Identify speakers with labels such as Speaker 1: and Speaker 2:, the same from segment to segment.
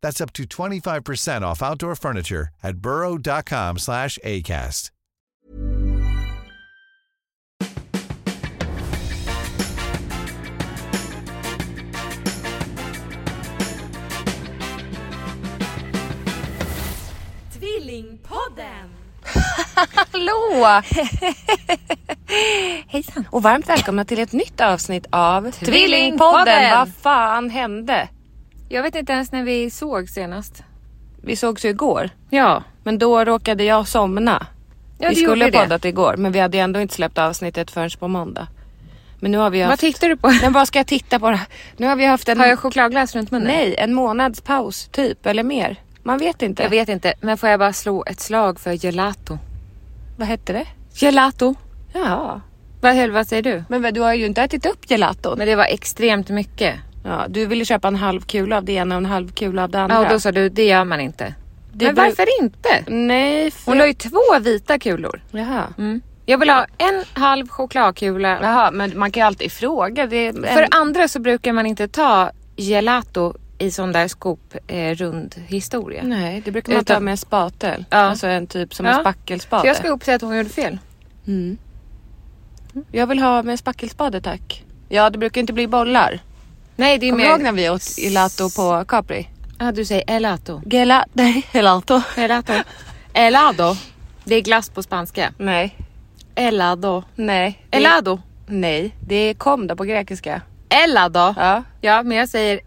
Speaker 1: That's up to 25% off outdoor furniture at burrow.com slash ACAST.
Speaker 2: Tvillingpodden!
Speaker 3: Hallå!
Speaker 4: Hejsan.
Speaker 3: Och varmt välkomna till ett nytt avsnitt av
Speaker 2: Tvillingpodden.
Speaker 3: Vad fan hände?
Speaker 2: Jag vet inte ens när vi såg senast.
Speaker 3: Vi sågs ju igår,
Speaker 2: Ja,
Speaker 3: men då råkade jag somna.
Speaker 2: Ja,
Speaker 3: vi
Speaker 2: du
Speaker 3: skulle
Speaker 2: gjorde det.
Speaker 3: poddat igår, men vi hade ju ändå inte släppt avsnittet förrän på måndag. Men nu har vi
Speaker 2: vad
Speaker 3: haft...
Speaker 2: tittar du på?
Speaker 3: Men vad ska jag titta på? då? Nu har vi haft en...
Speaker 2: Har jag chokladglass runt munnen?
Speaker 3: Nej, en månads paus typ, eller mer. Man vet inte.
Speaker 2: Jag vet inte, men får jag bara slå ett slag för gelato?
Speaker 3: Vad hette det?
Speaker 2: Gelato?
Speaker 3: Ja.
Speaker 2: Vad höll, vad säger du?
Speaker 3: Men vad- du har ju inte ätit upp gelaton.
Speaker 2: Men det var extremt mycket.
Speaker 3: Ja, du ville köpa en halv kula av det ena och en halv kula av det andra.
Speaker 2: Ja, och då sa du, det gör man inte.
Speaker 3: Det
Speaker 2: men
Speaker 3: beror-
Speaker 2: varför inte?
Speaker 3: Nej, för...
Speaker 2: Hon la ju två vita kulor.
Speaker 3: Jaha.
Speaker 2: Mm. Jag vill ha en halv chokladkula.
Speaker 3: Jaha, men man kan ju alltid fråga. Det är en...
Speaker 2: För andra så brukar man inte ta gelato i sån där skop eh, rund historia.
Speaker 3: Nej, det brukar man
Speaker 2: Utan-
Speaker 3: ta med en spatel.
Speaker 2: Ja.
Speaker 3: Alltså en typ som
Speaker 2: Ja.
Speaker 3: en spackelspade.
Speaker 2: Så jag ska upp säga att hon gjorde fel.
Speaker 3: mm. jag vill ha med en spackelspade tack. Ja, det brukar inte bli bollar.
Speaker 2: Nej, det är
Speaker 3: Kommer du
Speaker 2: mer...
Speaker 3: ihåg när vi åt gelato på Capri?
Speaker 2: Ja, du säger elato.
Speaker 3: Gela... Nej, gelato.
Speaker 2: Elato. Elado. Det är glass på spanska.
Speaker 3: Nej.
Speaker 2: Elado.
Speaker 3: Nej. Det-
Speaker 2: Elado.
Speaker 3: Nej, det är kom då på grekiska.
Speaker 2: Elado. Ja,
Speaker 3: Ja,
Speaker 2: men jag säger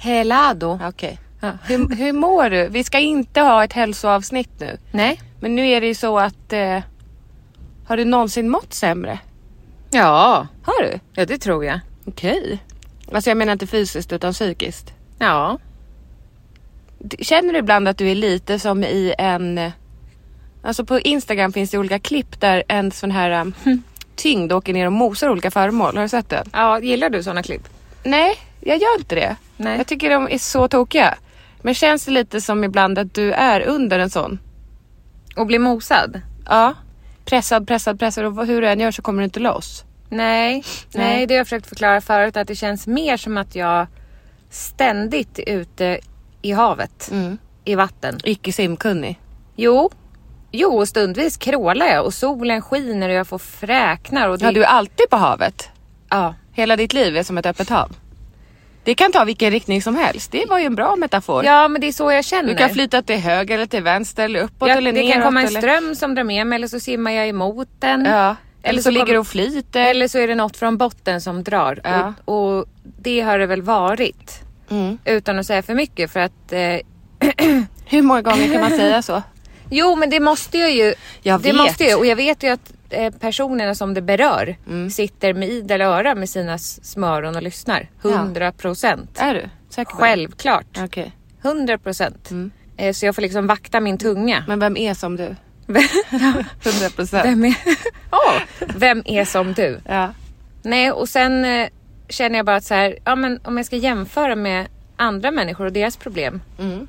Speaker 2: helado.
Speaker 3: okej.
Speaker 2: Ja.
Speaker 3: Hur, hur mår du? Vi ska inte ha ett hälsoavsnitt nu.
Speaker 2: Nej.
Speaker 3: Men nu är det ju så att... Eh, har du någonsin mått sämre?
Speaker 2: Ja.
Speaker 3: Har du?
Speaker 2: ja, det tror jag.
Speaker 3: Okej. Alltså jag menar inte fysiskt utan psykiskt.
Speaker 2: Ja.
Speaker 3: D- Känner du ibland att du är lite som i en... eh, Alltså på Instagram finns det olika klipp där en sån här um, tyngd åker ner och mosar olika föremål. Har du sett den?
Speaker 2: ja. Gillar du såna klipp?
Speaker 3: Nej, jag gör inte det.
Speaker 2: Nej.
Speaker 3: Jag tycker de är så tokiga. Men känns det lite som ibland att du är under en sån?
Speaker 2: Och bli mosad?
Speaker 3: Ja. Pressad, pressad, pressad och vad- hur du än gör så kommer du inte loss.
Speaker 2: Nej. Nej,
Speaker 3: Nej.
Speaker 2: det har jag försökt förklara förut att det känns mer som att jag ständigt är ute i havet.
Speaker 3: Mm.
Speaker 2: I vatten.
Speaker 3: Icke simkunnig.
Speaker 2: Jo. Jo, och stundvis krålar jag och solen skiner och jag får fräknar och det...
Speaker 3: Ja, du är alltid på havet.
Speaker 2: ja.
Speaker 3: Hela ditt liv är som ett öppet hav. Det kan ta vilken riktning som helst. Det var ju en bra metafor.
Speaker 2: Ja, men det är så jag känner.
Speaker 3: du kan flyta till höger eller till vänster eller uppåt
Speaker 2: Ja,
Speaker 3: eller
Speaker 2: det
Speaker 3: neråt.
Speaker 2: kan komma en
Speaker 3: eller-
Speaker 2: ström som drar med mig eller så simmar jag emot den.
Speaker 3: Ja. Eller,
Speaker 2: Eller
Speaker 3: så,
Speaker 2: så
Speaker 3: ligger
Speaker 2: kommer-
Speaker 3: du och flyter.
Speaker 2: Eller så är det något från botten som drar.
Speaker 3: Ja.
Speaker 2: Och, och det har det väl varit.
Speaker 3: Mm.
Speaker 2: Utan att säga för mycket för att... Eh,
Speaker 3: Hur många gånger kan man säga så?
Speaker 2: jo, men det måste jag ju.
Speaker 3: Jag
Speaker 2: det
Speaker 3: vet. Mm.
Speaker 2: Måste jag, och jag vet ju att eh, personerna som det berör sitter med idel öra med sina s- smöron och lyssnar. 100 procent.
Speaker 3: Är du säker på det?
Speaker 2: Självklart.
Speaker 3: Okej.
Speaker 2: 100 procent.
Speaker 3: Mm.
Speaker 2: Eh, så jag får liksom vakta min tunga.
Speaker 3: Men vem är som du? 100 procent.
Speaker 2: Vem är, Åh, vem är som du?
Speaker 3: Ja.
Speaker 2: Nej, och sen eh, känner jag bara att så här, ja, men om jag ska jämföra med andra människor och deras problem
Speaker 3: Mm.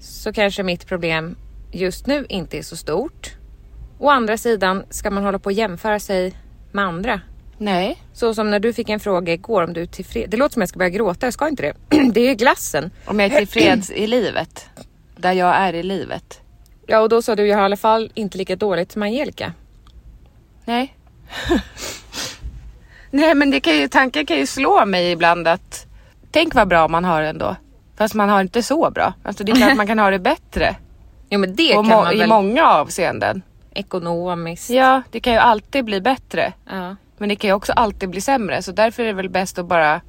Speaker 2: så kanske mitt problem just nu inte är så stort. Å andra sidan, ska man hålla på och jämföra sig med andra?
Speaker 3: Nej.
Speaker 2: Så som när du fick en fråga igår om du är tillfreds. Det låter som jag ska börja gråta, jag ska inte det. det är ju glassen.
Speaker 3: Om jag är tillfreds i livet. Där jag är i livet.
Speaker 2: Ja, och då sa du, jag har i alla fall inte lika dåligt som Angelica.
Speaker 3: Nej. Nej men det kan ju, tankar kan ju slå mig ibland att tänk vad bra man har ändå. Fast man har inte så bra. Alltså det är klart man kan ha det bättre.
Speaker 2: Jo, men det
Speaker 3: och
Speaker 2: kan
Speaker 3: må-
Speaker 2: man
Speaker 3: I
Speaker 2: väl.
Speaker 3: många avseenden.
Speaker 2: ekonomiskt.
Speaker 3: Ja, det kan ju alltid bli bättre.
Speaker 2: Ja.
Speaker 3: Men det kan ju också alltid bli sämre. Så därför är det väl bäst att bara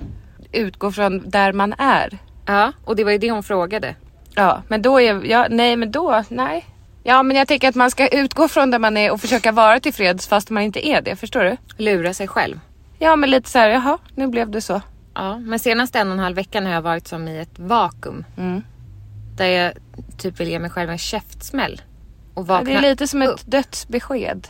Speaker 3: utgå från där man är.
Speaker 2: ja, och det var ju det hon frågade.
Speaker 3: Ja, men då är ja, nej, men då, nej. Ja, men jag tänker att man ska utgå från där man är och försöka vara tillfreds fast man inte är det. Förstår du?
Speaker 2: Lura sig själv.
Speaker 3: Ja, men lite så här, jaha, nu blev det så.
Speaker 2: Ja, men senaste en och en halv veckan har jag varit som i ett vakuum.
Speaker 3: Mm.
Speaker 2: Där jag typ vill ge mig själv en käftsmäll. Och
Speaker 3: Ja,
Speaker 2: vakna
Speaker 3: Det är lite som
Speaker 2: upp.
Speaker 3: ett dödsbesked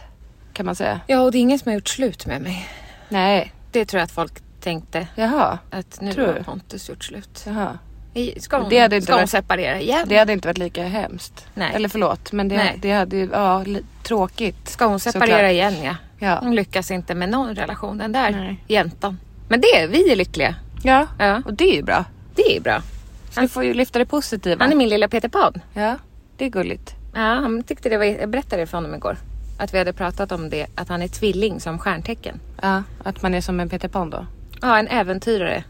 Speaker 3: kan man säga.
Speaker 2: Ja, och det är ingen som har gjort slut med mig.
Speaker 3: Nej,
Speaker 2: Det tror jag att folk tänkte.
Speaker 3: jaha,
Speaker 2: Att nu
Speaker 3: Tror
Speaker 2: har
Speaker 3: du?
Speaker 2: Pontus gjort slut.
Speaker 3: jaha.
Speaker 2: I- Ska hon,
Speaker 3: Det hade inte
Speaker 2: ska hon
Speaker 3: varit-
Speaker 2: separera igen?
Speaker 3: Det hade inte varit lika hemskt.
Speaker 2: Nej.
Speaker 3: Eller förlåt, men det,
Speaker 2: Nej.
Speaker 3: det hade ju, ja, li- tråkigt.
Speaker 2: Ska hon separera
Speaker 3: Såklart.
Speaker 2: igen ja.
Speaker 3: Ja.
Speaker 2: Hon lyckas inte med någon relation den där
Speaker 3: Nej.
Speaker 2: jäntan. Men det, vi är lyckliga.
Speaker 3: ja.
Speaker 2: Ja,
Speaker 3: Och det är ju bra.
Speaker 2: det är bra.
Speaker 3: Så du får ju lyfta det positiva.
Speaker 2: Han är min lilla Peter Pan.
Speaker 3: Ja, det är gulligt.
Speaker 2: Ja, han tyckte det var, jag berättade det för honom igår. Att vi hade pratat om det, att han är tvilling som stjärntecken.
Speaker 3: Ja, att man är som en Peter Pan då.
Speaker 2: Ja, en äventyrare.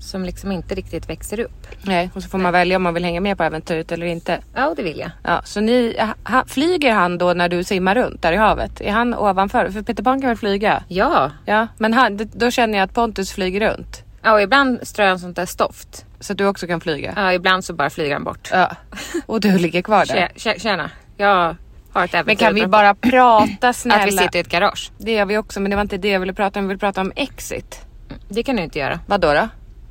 Speaker 2: Som liksom inte riktigt växer upp.
Speaker 3: Nej, och så får man välja om man vill hänga med på äventyret eller inte.
Speaker 2: Ja, och det vill jag.
Speaker 3: Ja, så ni, ha- ha, flyger han då när du simmar runt där i havet? Är han ovanför? För Peter Pan kan väl flyga?
Speaker 2: Ja.
Speaker 3: Ja, men han, d- då känner jag att Pontus flyger runt.
Speaker 2: Ja, och ibland strör han sånt där stoft.
Speaker 3: Så att du också kan flyga?
Speaker 2: Ja, ibland så bara flyger han bort.
Speaker 3: Ja. Och du ligger kvar där?
Speaker 2: Tjä, tjä, tjäna, jag har ett äventyr.
Speaker 3: Men kan vi
Speaker 2: att
Speaker 3: bara prata snälla?
Speaker 2: Att vi sitter i ett garage.
Speaker 3: Det gör vi också, men det var inte det jag ville prata om. Vi ville prata om exit.
Speaker 2: Det kan du inte göra.
Speaker 3: Vad då? då?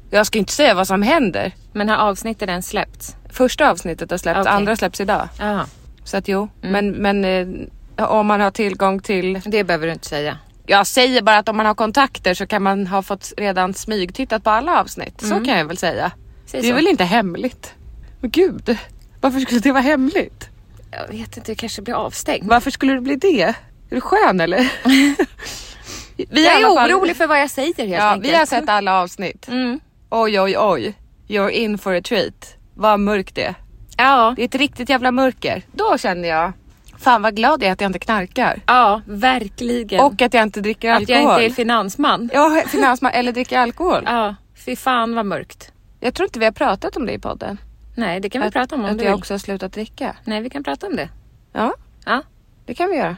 Speaker 3: Jag ska inte säga vad som händer.
Speaker 2: Men har avsnittet ens släppts?
Speaker 3: Första avsnittet har släppts,
Speaker 2: Okej. Mm.
Speaker 3: andra släpps idag.
Speaker 2: Ja.
Speaker 3: Så att jo, men, men eh, om man har tillgång till...
Speaker 2: Det behöver du inte säga.
Speaker 3: Jag säger bara att om man har kontakter så kan man ha fått redan smygtittat på alla avsnitt. Så kan jag väl säga.
Speaker 2: Säg
Speaker 3: det är
Speaker 2: Mm. så.
Speaker 3: väl inte hemligt? Men gud, varför skulle det vara hemligt?
Speaker 2: Jag vet inte, jag kanske blir avstängd.
Speaker 3: Varför skulle det bli det? Är du skön eller? vi
Speaker 2: Jag
Speaker 3: i alla
Speaker 2: är
Speaker 3: fall-
Speaker 2: orolig för vad jag säger helt
Speaker 3: Ja,
Speaker 2: enkelt.
Speaker 3: vi har sett alla avsnitt.
Speaker 2: Mm.
Speaker 3: Oj, oj, oj. You're in for a treat. Vad mörkt det är.
Speaker 2: Ja.
Speaker 3: Det är ett riktigt jävla mörker. Då känner jag, fan vad glad jag är att jag inte knarkar.
Speaker 2: ja, verkligen.
Speaker 3: Och att jag inte dricker
Speaker 2: att
Speaker 3: alkohol.
Speaker 2: jag inte är finansman.
Speaker 3: Ja, finansman eller dricker alkohol.
Speaker 2: Ja, fy fan vad mörkt.
Speaker 3: Jag tror inte vi har pratat om det i podden.
Speaker 2: Nej, det kan vi
Speaker 3: att,
Speaker 2: prata om om
Speaker 3: Att
Speaker 2: du
Speaker 3: jag
Speaker 2: vill.
Speaker 3: också har slutat dricka.
Speaker 2: Nej, vi kan prata om det.
Speaker 3: Ja,
Speaker 2: Ja,
Speaker 3: det kan vi göra.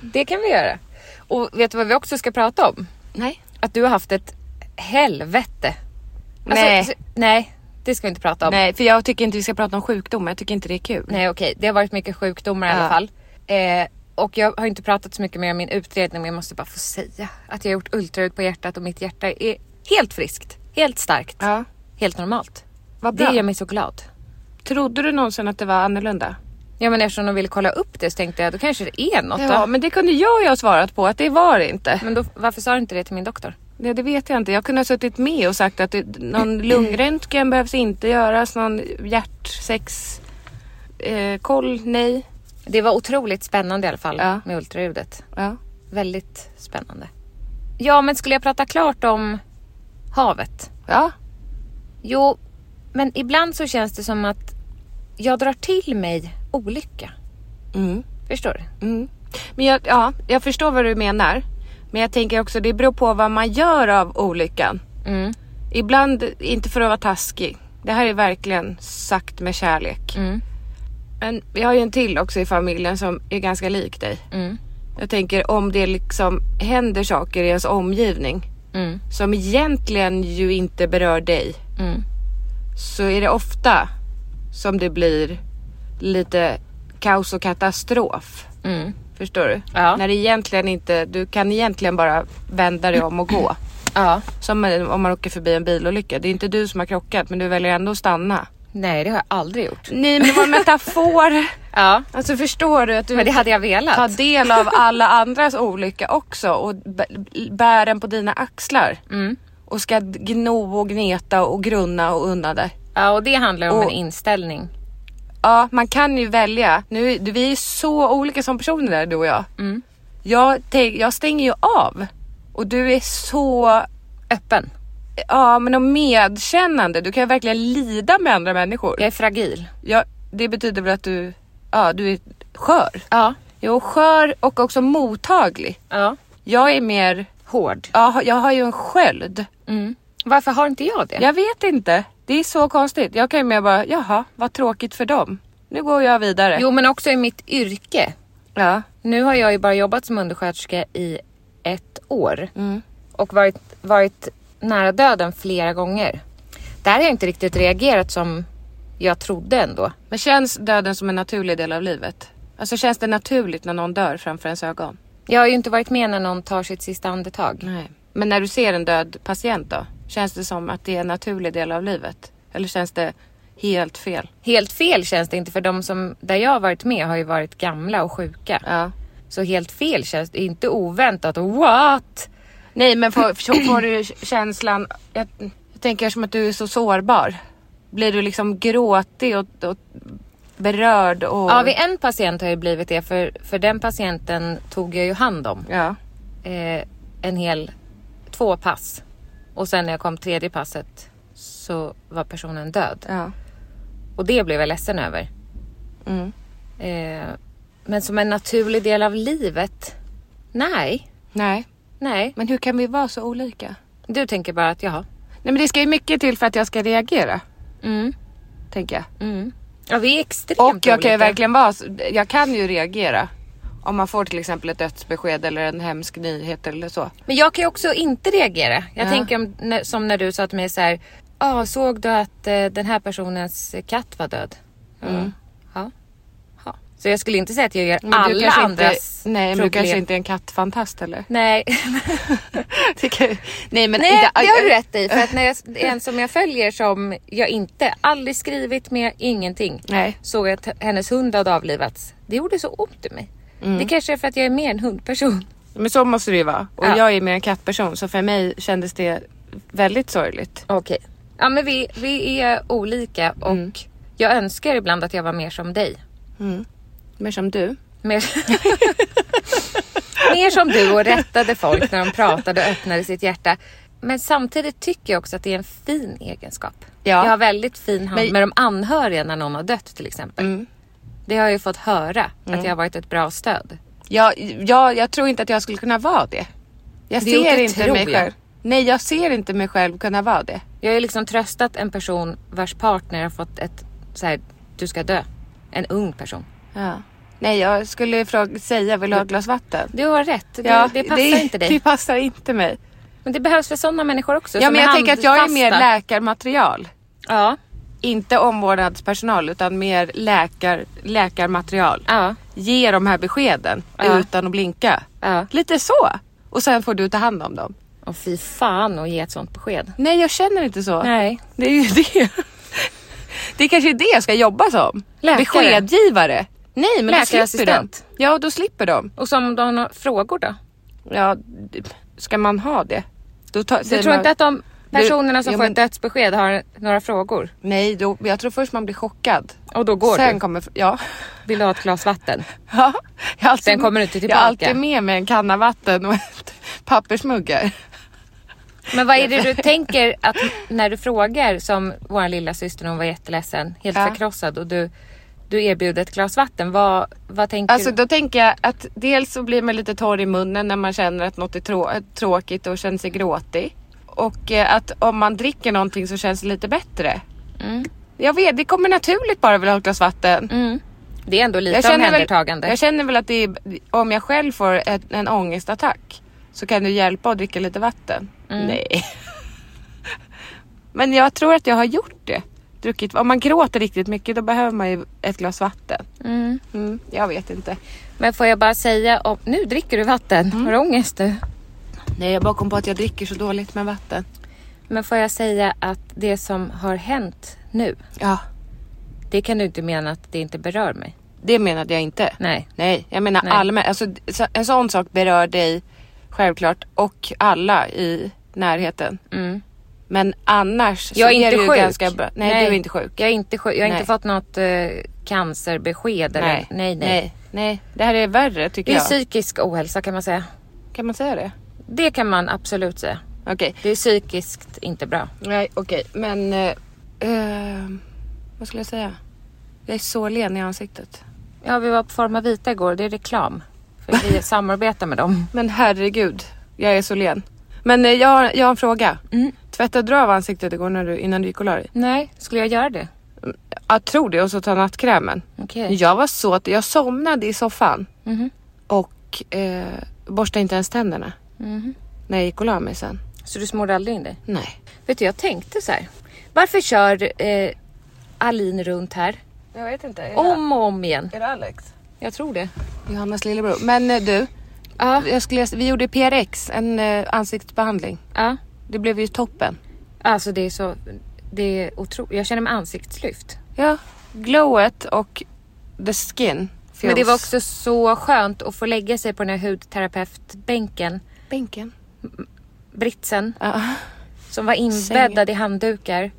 Speaker 2: det kan vi göra. Och vet du vad vi också ska prata om?
Speaker 3: Nej.
Speaker 2: Att du har haft ett helvete. Alltså,
Speaker 3: Nej.
Speaker 2: så- nej, det ska vi inte prata om.
Speaker 3: Nej, för jag tycker inte vi ska prata om sjukdom. Jag tycker inte det är kul.
Speaker 2: Nej okej, det har varit mycket sjukdomar i alla
Speaker 3: Ja.
Speaker 2: fall. Eh, och jag har inte pratat så mycket mer om min utredning men jag måste bara få säga att jag har gjort ultraljud på hjärtat och mitt hjärta är helt friskt, helt starkt,
Speaker 3: Ja.
Speaker 2: helt normalt.
Speaker 3: Vad
Speaker 2: Det
Speaker 3: bra.
Speaker 2: gör mig så glad.
Speaker 3: Trodde du någonsin att det var annorlunda?
Speaker 2: Ja men eftersom de ville kolla upp det så tänkte jag då kanske det är något
Speaker 3: Ja,
Speaker 2: då.
Speaker 3: men det kunde jag ju ha svarat på att det var det inte.
Speaker 2: Men då, varför sa du inte det till min doktor?
Speaker 3: Nej, det vet jag inte. Jag kunde ha suttit med och sagt att det, någon lungröntgen behövs inte göras, någon hjärtsex eh, koll, nej.
Speaker 2: Det var otroligt spännande i alla fall
Speaker 3: Ja.
Speaker 2: med ultraljudet.
Speaker 3: Ja.
Speaker 2: Väldigt spännande. Ja men skulle jag prata klart om havet?
Speaker 3: ja.
Speaker 2: Jo, men ibland så känns det som att jag drar till mig olycka.
Speaker 3: Mm.
Speaker 2: Förstår du?
Speaker 3: Mm. Men jag, ja, jag förstår vad du menar. Men jag tänker också det beror på vad man gör av olyckan.
Speaker 2: Mm.
Speaker 3: Ibland, inte för att vara taskig. Det här är verkligen sagt med kärlek.
Speaker 2: Mm.
Speaker 3: Men vi har ju en till också i familjen som är ganska lik dig.
Speaker 2: Mm.
Speaker 3: Jag tänker om det liksom händer saker i ens omgivning
Speaker 2: Mm.
Speaker 3: som egentligen ju inte berör dig
Speaker 2: Mm.
Speaker 3: så är det ofta som det blir lite kaos och katastrof.
Speaker 2: Mm.
Speaker 3: Förstår du?
Speaker 2: Ja.
Speaker 3: När det egentligen inte, du kan egentligen bara vända dig om och gå.
Speaker 2: Ja.
Speaker 3: Som om man åker förbi en bilolycka. Det är inte du som har krockat men du väljer ändå att stanna.
Speaker 2: Nej, det har jag aldrig gjort.
Speaker 3: Nej men det var en metafor.
Speaker 2: Ja,
Speaker 3: Alltså förstår du att du
Speaker 2: men det hade jag velat.
Speaker 3: tar del av alla andras olycka också och b- bär den på dina axlar.
Speaker 2: Mm.
Speaker 3: Och ska gno och gneta och grunna och unna dig.
Speaker 2: Ja, och det handlar om en
Speaker 3: Och-
Speaker 2: inställning.
Speaker 3: Ja, man kan ju välja. Nu, du- vi är så olika som personer där du och jag.
Speaker 2: Mm.
Speaker 3: Jag, tänk, jag stänger ju av och du är så
Speaker 2: Öppen.
Speaker 3: ja, men och medkännande. Du kan ju verkligen lida med andra människor.
Speaker 2: Jag är fragil.
Speaker 3: Ja, det betyder väl att du, ja, du är skör.
Speaker 2: Ja.
Speaker 3: Jo, skör och också mottaglig.
Speaker 2: Ja.
Speaker 3: Jag är mer,
Speaker 2: Hård.
Speaker 3: ja, jag har ju en sköld.
Speaker 2: Mm. Varför har inte jag det?
Speaker 3: Jag vet inte. Det är så konstigt. Jag kan ju mer bara, jaha, vad tråkigt för dem. Nu går jag vidare.
Speaker 2: Jo men också i mitt yrke.
Speaker 3: Ja.
Speaker 2: Nu har jag ju bara jobbat som undersköterska i ett år.
Speaker 3: Mm.
Speaker 2: och varit, varit nära döden flera gånger. Där har jag inte riktigt reagerat som jag trodde ändå.
Speaker 3: Men känns döden som en naturlig del av livet? Alltså känns det naturligt när någon dör framför ens ögon?
Speaker 2: Jag har ju inte varit med när någon tar sitt sista andetag.
Speaker 3: Nej. Men när du ser en död patient då? Känns det som att det är en naturlig del av livet? Eller känns det helt fel?
Speaker 2: Helt fel känns det inte för de som, där jag har varit med har ju varit gamla och sjuka.
Speaker 3: Ja.
Speaker 2: Så helt fel känns det, inte oväntat och what?
Speaker 3: Nej men får, får får du känslan, jag, jag tänker som att du är så sårbar. Blir du liksom gråtig och, och berörd och...
Speaker 2: Ja, vid en patient har jag blivit det för, för den patienten tog jag ju hand om.
Speaker 3: ja.
Speaker 2: eh, en hel två pass. Och sen när jag kom tredje passet så var personen död.
Speaker 3: ja.
Speaker 2: Och det blev jag ledsen över.
Speaker 3: Mm.
Speaker 2: Eh, men som en naturlig del av livet? Nej,
Speaker 3: Nej.
Speaker 2: nej.
Speaker 3: Men hur kan vi vara så olika?
Speaker 2: Du tänker bara att jaha.
Speaker 3: Nej men det ska ju mycket till för att jag ska reagera,
Speaker 2: Mm,
Speaker 3: tänker jag.
Speaker 2: mm. Ja, vi är extremt
Speaker 3: Och jag kan
Speaker 2: olika.
Speaker 3: ju verkligen vara, så- jag kan ju reagera. Om man får till exempel ett dödsbesked eller en hemsk nyhet eller så.
Speaker 2: Men jag kan ju också inte reagera. Jag
Speaker 3: Ja.
Speaker 2: tänker om, när- som när du sa till mig så här. Ah, såg du att eh, den här personens katt var död? Ja. Ja. ja. Så jag skulle inte säga att jag gör
Speaker 3: Mm. Men du
Speaker 2: alla
Speaker 3: kanske inte-
Speaker 2: andras
Speaker 3: Nej men du
Speaker 2: problem.
Speaker 3: kanske inte är en kattfantast eller?
Speaker 2: Nej,
Speaker 3: Det kan- nej men
Speaker 2: Nej
Speaker 3: inte- äh,
Speaker 2: det har du rätt i. För att när jag, en som jag följer som jag inte, aldrig skrivit med, ingenting.
Speaker 3: Nej.
Speaker 2: Såg jag att hennes hund hade avlivats. Det gjorde så ont i mig.
Speaker 3: Mm.
Speaker 2: Det kanske är för att jag är mer en hundperson.
Speaker 3: Men så måste det ju vara. Och
Speaker 2: Ja.
Speaker 3: jag är mer en kattperson så för mig kändes det väldigt sorgligt.
Speaker 2: Okej. Ja men vi, vi är olika och
Speaker 3: Mm.
Speaker 2: jag önskar ibland att jag var mer som dig.
Speaker 3: Mer som du.
Speaker 2: Mer, mer som du och rättade folk när de pratade och öppnade sitt hjärta. Men samtidigt tycker jag också att det är en fin egenskap.
Speaker 3: Ja.
Speaker 2: Jag har väldigt fin hand
Speaker 3: Men- Mm.
Speaker 2: med de anhöriga när någon har dött till exempel. Det har jag ju fått höra, att jag har varit ett bra stöd.
Speaker 3: Jag, jag, jag tror inte att jag skulle kunna vara det. Jag
Speaker 2: Det är
Speaker 3: ser
Speaker 2: inte
Speaker 3: inte
Speaker 2: tror
Speaker 3: mig
Speaker 2: jag.
Speaker 3: själv. Nej jag ser inte mig själv kunna vara det.
Speaker 2: Jag har ju liksom tröstat en person vars partner har fått ett så här, du ska dö. En ung person.
Speaker 3: Ja. Nej jag skulle fråga, säga vill du ha ett glas vatten?
Speaker 2: Du har rätt, det,
Speaker 3: Ja,
Speaker 2: det passar inte dig.
Speaker 3: Det passar inte mig.
Speaker 2: Men det behövs för sådana människor också.
Speaker 3: Ja
Speaker 2: som
Speaker 3: men
Speaker 2: är
Speaker 3: jag tänker att jag är mer
Speaker 2: handfasta.
Speaker 3: läkarmaterial.
Speaker 2: Ja,
Speaker 3: Inte omvårdnadspersonal utan mer läkar, läkarmaterial.
Speaker 2: ja,
Speaker 3: Ge de här beskeden
Speaker 2: Ja.
Speaker 3: utan att blinka.
Speaker 2: ja.
Speaker 3: Lite så. Och sen får du ta hand om dem.
Speaker 2: Och fy fan att ge ett sånt besked.
Speaker 3: Nej jag känner inte så.
Speaker 2: Nej.
Speaker 3: Det är ju det. Det är kanske är det jag ska jobba som.
Speaker 2: Läkare.
Speaker 3: Beskedgivare. Nej men då slipper de.
Speaker 2: Läkarassistent.
Speaker 3: Ja då slipper de.
Speaker 2: Och som de har några frågor då?
Speaker 3: Ja, d- ska man ha det? Då tar,
Speaker 2: Du
Speaker 3: säger
Speaker 2: tror
Speaker 3: man,
Speaker 2: inte att de personerna som
Speaker 3: ja,
Speaker 2: får
Speaker 3: men-
Speaker 2: ett dödsbesked har några frågor?
Speaker 3: Nej, då, jag tror först man blir chockad.
Speaker 2: Och då går
Speaker 3: Sen
Speaker 2: du?
Speaker 3: kommer... Ja.
Speaker 2: Vill du ha ett glas vatten?
Speaker 3: ja jag har alltid,
Speaker 2: Sen kommer du inte
Speaker 3: Jag har
Speaker 2: tillbaka.
Speaker 3: alltid med mig en kanna vatten och ett pappersmuggar.
Speaker 2: Men vad är det du tänker att när du frågar som vår lilla syster hon var jätteledsen, helt
Speaker 3: Ja.
Speaker 2: förkrossad och du, du erbjuder ett glas vatten. Vad, vad tänker
Speaker 3: Alltså
Speaker 2: du?
Speaker 3: då tänker jag att dels så blir man lite torr i munnen när man känner att något är trå- eh, tråkigt och känner sig gråtig. Och eh, att om man dricker någonting så känns det lite bättre.
Speaker 2: Mm.
Speaker 3: Jag vet, det kommer naturligt bara vilja ha ett glas vatten.
Speaker 2: Mm. Det är ändå
Speaker 3: Jag
Speaker 2: lite
Speaker 3: känner, väl,
Speaker 2: omhändertagande.
Speaker 3: jag känner väl att det är, om jag själv får ett, en ångestattack så kan du hjälpa att dricka lite vatten.
Speaker 2: Mm.
Speaker 3: Nej. Men jag tror att jag har gjort det. Druckit, om man gråter riktigt mycket då behöver man ju ett glas vatten.
Speaker 2: Mm.
Speaker 3: Mm, jag vet inte.
Speaker 2: Men får jag bara säga, om, nu dricker du vatten,
Speaker 3: Mm.
Speaker 2: har du ångest du?
Speaker 3: Nej, jag bara kom på att jag dricker så dåligt med vatten.
Speaker 2: Men får jag säga att det som har hänt nu,
Speaker 3: Ja,
Speaker 2: det kan du inte mena att det inte berör mig?
Speaker 3: det menade jag inte.
Speaker 2: Nej.
Speaker 3: Nej, jag menar
Speaker 2: Nej.
Speaker 3: allmänt. Alltså, så- en sån sak berör dig självklart och alla i närheten.
Speaker 2: Mm.
Speaker 3: Men annars
Speaker 2: Jag är
Speaker 3: så
Speaker 2: inte
Speaker 3: är du ju
Speaker 2: sjuk.
Speaker 3: ganska bra. Nej,
Speaker 2: Nej.
Speaker 3: du är inte sjuk.
Speaker 2: Jag är inte sjuk, jag har
Speaker 3: Nej.
Speaker 2: inte fått något eh, cancerbesked eller nej, nej.
Speaker 3: nej. Nej, det här är värre tycker
Speaker 2: Det är
Speaker 3: jag.
Speaker 2: psykisk ohälsa kan man säga.
Speaker 3: Kan man säga det?
Speaker 2: Det kan man absolut säga.
Speaker 3: Okej.
Speaker 2: Det är psykiskt inte bra.
Speaker 3: Nej, okej. Men... eh, eh, vad skulle jag säga? Jag är så len i ansiktet.
Speaker 2: Ja, vi var på Forma Vita igår, det är reklam. För vi samarbetar med dem.
Speaker 3: Men herregud, jag är så len. Men eh, jag, Mm. har, jag har en fråga. Tvättade du av ansiktet igår när du, innan du gick och la dig?
Speaker 2: Nej, skulle jag göra det?
Speaker 3: Jag tror det och så tar nattkrämen.
Speaker 2: Okej.
Speaker 3: Jag var så att jag somnade i soffan och eh, borstade inte ens tänderna när jag gick och la mig sen.
Speaker 2: Mhm. Så du smorde aldrig in dig?
Speaker 3: Nej.
Speaker 2: Vet du, jag tänkte så här. Varför kör eh, Alin runt här?
Speaker 3: Jag vet inte. Är
Speaker 2: Om och om igen.
Speaker 3: är det Alex?
Speaker 2: Jag tror det.
Speaker 3: Johannas lillebror. Men eh, du,
Speaker 2: Ja,
Speaker 3: jag skulle, vi gjorde PRX, en eh, ansiktsbehandling.
Speaker 2: ja.
Speaker 3: Det blev ju toppen.
Speaker 2: Alltså det är så... Det är otroligt. Jag känner mig ansiktslyft.
Speaker 3: Ja, glowet och the skin. Feels.
Speaker 2: Men det var också så skönt att få lägga sig på den här hudterapeutbänken.
Speaker 3: bänken.
Speaker 2: Britsen.
Speaker 3: Ja.
Speaker 2: Som var inbäddad i handdukar.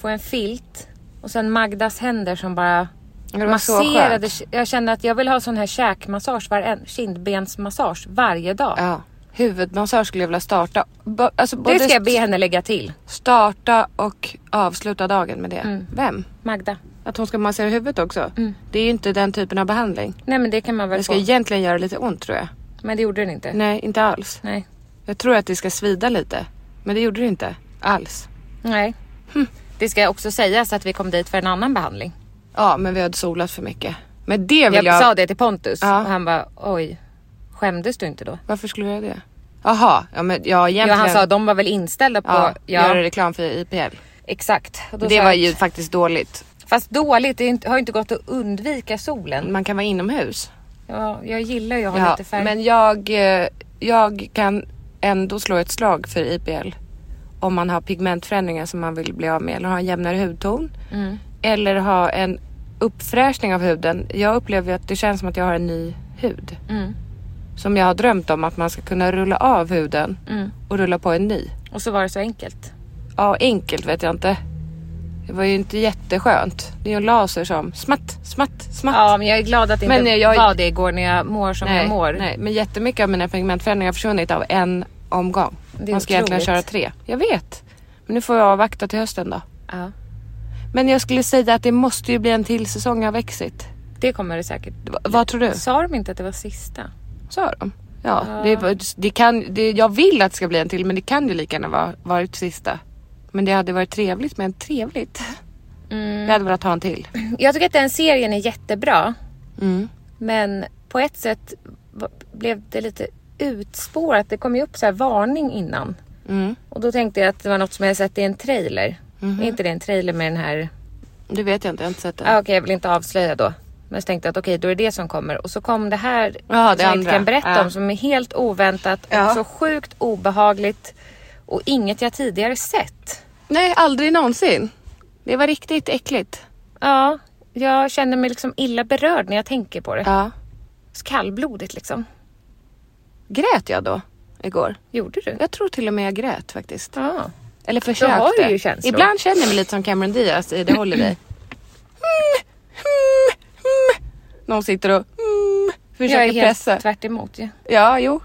Speaker 2: Få en filt. Och sen Magdas händer som bara
Speaker 3: Det var så
Speaker 2: masserade.
Speaker 3: skönt.
Speaker 2: Jag kände att jag vill ha sån här käkmassage, varen, kindbensmassage varje dag.
Speaker 3: Ja. Huvudmassage skulle jag vilja starta. Bo, alltså både
Speaker 2: Det ska jag be henne lägga till.
Speaker 3: Starta och avsluta dagen med det.
Speaker 2: Mm.
Speaker 3: Vem?
Speaker 2: Magda.
Speaker 3: Att hon ska massera huvudet också?
Speaker 2: Mm.
Speaker 3: Det är ju inte den typen av behandling.
Speaker 2: Nej men det kan man väl
Speaker 3: Det ska
Speaker 2: få.
Speaker 3: egentligen göra lite ont tror jag.
Speaker 2: Men det gjorde den inte.
Speaker 3: Nej, inte alls.
Speaker 2: Nej.
Speaker 3: Jag tror att det ska svida lite. Men det gjorde det inte alls.
Speaker 2: Nej.
Speaker 3: Hm.
Speaker 2: Det ska också sägas att vi kom dit för en annan behandling.
Speaker 3: Ja, men vi hade solat för mycket. Men det vill
Speaker 2: Jag,
Speaker 3: jag...
Speaker 2: sa det till Pontus
Speaker 3: Ja.
Speaker 2: och han bara oj, skämdes du inte då?
Speaker 3: Varför skulle jag göra det? Jaha, ja men ja egentligen.
Speaker 2: Ja, han sa de var väl inställda på,
Speaker 3: ja,
Speaker 2: ja,
Speaker 3: göra reklam för IPL.
Speaker 2: exakt. Och då sa
Speaker 3: Det var
Speaker 2: jag,
Speaker 3: ju faktiskt dåligt.
Speaker 2: Fast dåligt, det är inte, har ju inte gått att undvika solen.
Speaker 3: Man kan vara inomhus.
Speaker 2: Ja, jag gillar ju att ha
Speaker 3: Ja,
Speaker 2: lite färg.
Speaker 3: men jag, eh, jag kan ändå slå ett slag för IPL. Om man har pigmentförändringar som man vill bli av med eller ha en jämnare hudton.
Speaker 2: Mm,
Speaker 3: Eller ha en uppfräschning av huden. Jag upplever ju att det känns som att jag har en ny hud.
Speaker 2: mm,
Speaker 3: Som jag har drömt om att man ska kunna rulla av huden och rulla på en ny.
Speaker 2: mm. Och så var det så enkelt.
Speaker 3: Ja, enkelt vet jag inte. Det var ju inte jätteskönt. Det är ju en laser som smatt, smatt, smatt.
Speaker 2: Ja men jag är glad att det inte
Speaker 3: Men, eh, jag-
Speaker 2: var det igår när jag mår som
Speaker 3: nej,
Speaker 2: jag mår.
Speaker 3: nej, men jättemycket av mina pigmentförändringar har försvunnit av en omgång.
Speaker 2: Det är
Speaker 3: Man ska egentligen
Speaker 2: otroligt.
Speaker 3: köra tre. Jag vet. Men nu får jag avvakta till hösten då.
Speaker 2: Ja,
Speaker 3: Men jag skulle säga att det måste ju bli en till säsong av Exit.
Speaker 2: det kommer det säkert.
Speaker 3: Va, vad tror du?
Speaker 2: Sa de inte att det var sista?
Speaker 3: Sa de? Ja, Det, var- det kan, det, jag vill att det ska bli en till men det kan ju lika gärna vara varit sista. Men det hade varit trevligt med en trevligt.
Speaker 2: Mm.
Speaker 3: Jag hade velat ha en till. Mm.
Speaker 2: Jag tycker att den serien är jättebra. Men på ett sätt v- blev det lite utspårat. Det kom ju upp så här varning innan.
Speaker 3: Mm.
Speaker 2: Och då tänkte jag att det var något som jag hade sett i en trailer.
Speaker 3: Mhm.
Speaker 2: Är inte det en trailer med den här...
Speaker 3: Det Mm-hmm. vet jag inte, jag har inte sett den.
Speaker 2: Ah, Okej, jag vill inte avslöja då. Men så tänkte jag att okej, då är det det som kommer. Och så kom det här
Speaker 3: Ja, det
Speaker 2: som jag inte
Speaker 3: andra.
Speaker 2: kan berätta
Speaker 3: Ja.
Speaker 2: om som är helt oväntat
Speaker 3: Ja.
Speaker 2: och så sjukt obehagligt. Och inget jag tidigare sett.
Speaker 3: Nej, aldrig någonsin. Det var riktigt äckligt.
Speaker 2: Ja, jag känner mig liksom illa berörd när jag tänker på det.
Speaker 3: Ja.
Speaker 2: Kallblodigt liksom.
Speaker 3: Grät jag då igår?
Speaker 2: Gjorde du?
Speaker 3: Jag tror till och med jag grät faktiskt.
Speaker 2: Ja.
Speaker 3: Eller försökte.
Speaker 2: har du ju känslor.
Speaker 3: Ibland känner jag mig lite som Cameron Diaz i The Holiday. Mm, mm, mm. Någon sitter och mm,
Speaker 2: Jag är
Speaker 3: försöker
Speaker 2: helt
Speaker 3: pressa.
Speaker 2: tvärt emot ju.
Speaker 3: Ja, jo.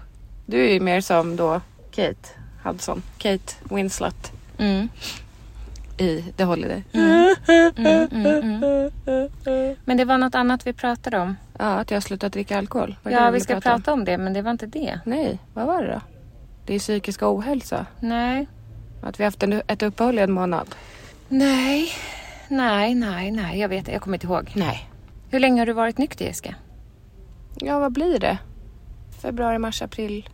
Speaker 3: Du är ju mer som då Kate Hudson. Kate Winslet
Speaker 2: Mm.
Speaker 3: i The Holiday.
Speaker 2: mm, Men det var något annat vi pratade om.
Speaker 3: Ja, att jag har slutat dricka alkohol. Var det
Speaker 2: Ja,
Speaker 3: det
Speaker 2: vi
Speaker 3: ville
Speaker 2: ska prata,
Speaker 3: om?
Speaker 2: om det, men det var inte det.
Speaker 3: Nej, vad var det då? Det är psykisk ohälsa.
Speaker 2: Nej.
Speaker 3: Att vi har haft en, ett uppehåll i en månad.
Speaker 2: Nej. Nej, nej, nej. Jag vet Jag kommer inte ihåg.
Speaker 3: Nej.
Speaker 2: Hur länge har du varit nykter, Jessica?
Speaker 3: Ja, vad blir det? Februari, mars, april.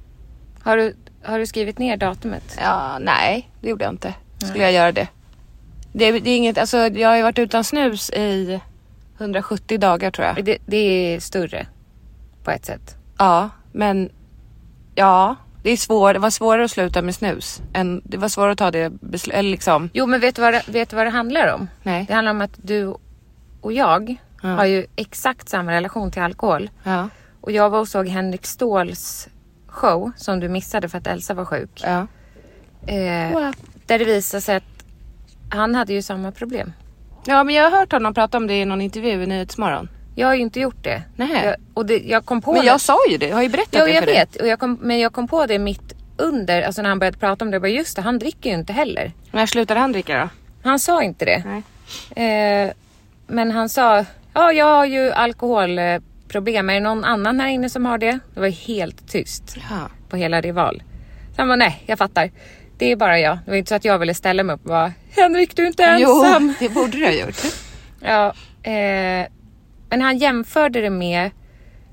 Speaker 2: Har du, har du skrivit ner datumet?
Speaker 3: Ja, nej, det gjorde jag inte. Skulle jag göra det? det, det är inget, alltså, jag har ju varit utan snus i 170 dagar tror jag.
Speaker 2: Det, det är större. På ett sätt.
Speaker 3: Ja, men ja, det, är svår, det var svårare att sluta med snus. Än, det var svårare att ta det beslutet, eller liksom.
Speaker 2: Jo, men vet du vad det, vet du vad det handlar om?
Speaker 3: Nej.
Speaker 2: Det handlar om att du och jag har ju exakt samma relation till alkohol.
Speaker 3: Ja,
Speaker 2: Och jag var och såg Henrik Ståhls show som du missade för att Elsa var sjuk.
Speaker 3: ja.
Speaker 2: Eh, där det visade sig att han hade ju samma problem.
Speaker 3: Ja, men jag har hört honom prata om det i någon intervju i Nyhetsmorgon.
Speaker 2: Jag har ju inte gjort det.
Speaker 3: Nej.
Speaker 2: Jag, och det, jag kom på
Speaker 3: Men
Speaker 2: det.
Speaker 3: jag sa ju det, jag har ju berättat
Speaker 2: Jo,
Speaker 3: det
Speaker 2: jag
Speaker 3: för dig.
Speaker 2: vet. Och jag kom, men jag kom på det mitt under, alltså när han började prata om det. Jag bara, just det, han dricker ju inte heller.
Speaker 3: När slutade han dricka då?
Speaker 2: Han sa inte det.
Speaker 3: Nej.
Speaker 2: Eh, men han sa, ja jag har ju alkoholproblem. Är det någon annan här inne som har det? Det var helt tyst
Speaker 3: Ja.
Speaker 2: på hela Rival. Så han bara, nej jag fattar. Det är bara jag. Det var inte så att jag ville ställa mig upp och bara, Henrik du är inte ensam.
Speaker 3: Jo, det borde du ha gjort.
Speaker 2: Ja, eh, men han jämförde det med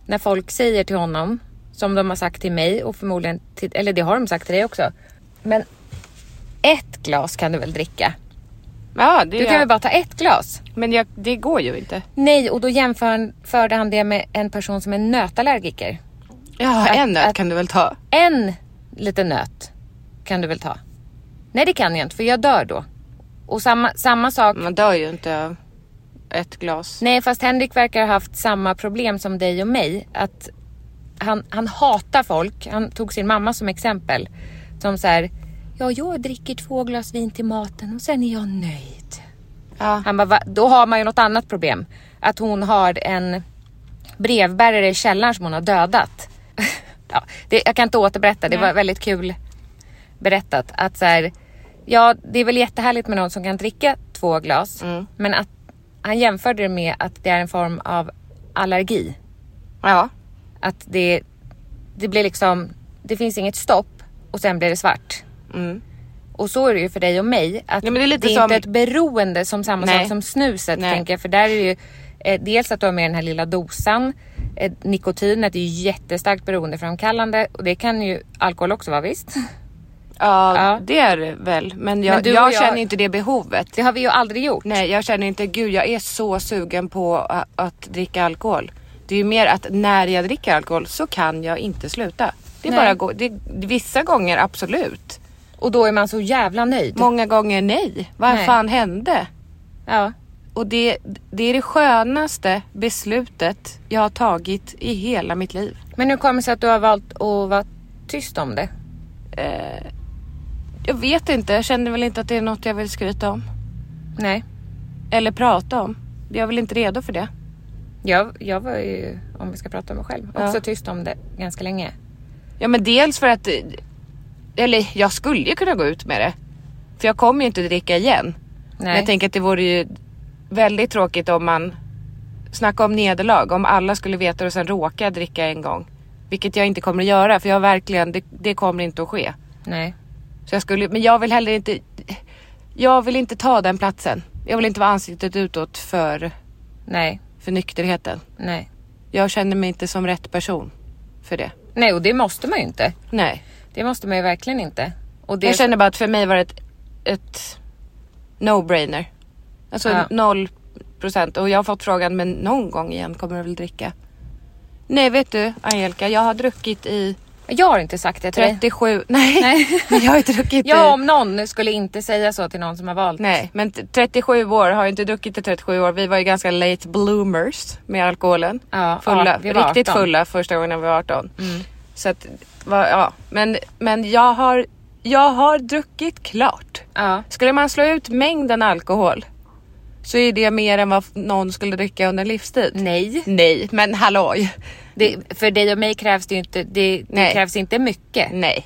Speaker 2: när folk säger till honom, som de har sagt till mig och förmodligen till, eller det har de sagt till dig också. Men ett glas kan du väl dricka?
Speaker 3: Ja, det
Speaker 2: Du
Speaker 3: gör
Speaker 2: kan väl
Speaker 3: jag.
Speaker 2: bara ta ett glas?
Speaker 3: Men jag, det går ju inte.
Speaker 2: Nej, och då jämförde han det med en person som är nötallergiker.
Speaker 3: Ja, en nöt
Speaker 2: att-
Speaker 3: kan du väl ta?
Speaker 2: En liten nöt kan du väl ta? Nej, det kan jag inte för jag dör då. Och samma, samma sak
Speaker 3: Man dör ju inte av ett glas.
Speaker 2: Nej, fast Henrik verkar ha haft samma problem som dig och mig. Att han, han hatar folk. Han tog sin mamma som exempel. Som så här, ja, jag dricker två glas vin till maten och sen är jag nöjd.
Speaker 3: Ja.
Speaker 2: Han bara, "Va?" då har man ju något annat problem. Att hon har en brevbärare i källaren som hon har dödat. ja, det, jag kan inte återberätta, det var väldigt kul berättat. Att så här, ja, det är väl jättehärligt med någon som kan dricka två glas. Men att han jämförde det med att det är en form av allergi.
Speaker 3: Ja.
Speaker 2: Att det, det blir liksom, det finns inget stopp och sen blir det svart.
Speaker 3: Mm.
Speaker 2: Och så är det ju för dig och mig. Att
Speaker 3: Ja, men det är lite
Speaker 2: är
Speaker 3: som-
Speaker 2: inte ett beroende som samma
Speaker 3: Nej.
Speaker 2: sak som snuset
Speaker 3: Nej.
Speaker 2: tänker jag. För där är det ju eh, dels att du har med den här lilla dosan. Eh, nikotinet är ju jättestarkt beroendeframkallande och det kan ju alkohol också vara visst.
Speaker 3: Ja,
Speaker 2: Ja.
Speaker 3: det är det väl. Men jag,
Speaker 2: Men du och
Speaker 3: jag
Speaker 2: jag-
Speaker 3: känner inte det behovet.
Speaker 2: Det har vi ju aldrig gjort.
Speaker 3: Nej, jag känner inte, gud jag är så sugen på a- att dricka alkohol. Det är ju mer att när jag dricker alkohol så kan jag inte sluta. Det är
Speaker 2: Nej.
Speaker 3: bara gå, det, vissa gånger absolut.
Speaker 2: Och då är man så jävla nöjd.
Speaker 3: Många gånger nej. Vad
Speaker 2: Nej.
Speaker 3: fan hände?
Speaker 2: ja.
Speaker 3: Och det, det är det skönaste beslutet jag har tagit i hela mitt liv.
Speaker 2: Men nu kommer det sig att du har valt att vara tyst om det.
Speaker 3: Jag vet inte, jag känner väl inte att det är något jag vill skryta om.
Speaker 2: Nej,
Speaker 3: Eller prata om. Jag är väl inte redo för det.
Speaker 2: jag, jag var ju, om vi ska prata om mig själv,
Speaker 3: Ja.
Speaker 2: också tyst om det ganska länge.
Speaker 3: Ja men dels för att, eh, eller jag skulle ju kunna gå ut med det. För jag kommer ju inte dricka igen. Men
Speaker 2: Nej.
Speaker 3: jag tänker att det vore ju väldigt tråkigt om man, snacka om nederlag, om alla skulle veta och sen råka dricka en gång. Vilket jag inte kommer att göra för jag har verkligen, det, det kommer inte att ske.
Speaker 2: Nej.
Speaker 3: Så jag skulle, men jag vill heller inte, jag vill inte ta den platsen. Jag vill inte vara ansiktet utåt för,
Speaker 2: Nej.
Speaker 3: för nykterheten.
Speaker 2: Nej.
Speaker 3: Jag känner mig inte som rätt person för det.
Speaker 2: Nej, och det måste man ju inte.
Speaker 3: Nej.
Speaker 2: Det måste man ju verkligen inte. Och det
Speaker 3: Jag känner bara att för mig var det ett, ett no-brainer. Alltså
Speaker 2: Ja.
Speaker 3: noll procent. Och jag har fått frågan, men någon gång igen kommer du väl dricka? Nej, vet du Angelica, jag har druckit i
Speaker 2: Jag har inte sagt det till dig.
Speaker 3: 37... Nej,
Speaker 2: Nej.
Speaker 3: men jag har inte druckit
Speaker 2: Jag
Speaker 3: i...
Speaker 2: om någon skulle inte säga så till någon som har valt.
Speaker 3: Nej, men t- 37 år har jag inte druckit i 37 år. Vi var ju ganska late bloomers med alkoholen.
Speaker 2: Ja,
Speaker 3: fulla,
Speaker 2: ja, vi var Mm.
Speaker 3: riktigt
Speaker 2: 18.
Speaker 3: fulla första gången jag var 18. Så att, va, ja. Men, men jag, har, jag har druckit klart.
Speaker 2: Ja.
Speaker 3: Skulle man slå ut mängden alkohol så är det mer än vad f- någon skulle dricka under en livstid.
Speaker 2: Nej.
Speaker 3: Nej, men halloj.
Speaker 2: Det, för dig och mig krävs det ju inte, det, det
Speaker 3: Nej.
Speaker 2: krävs inte mycket.
Speaker 3: Nej.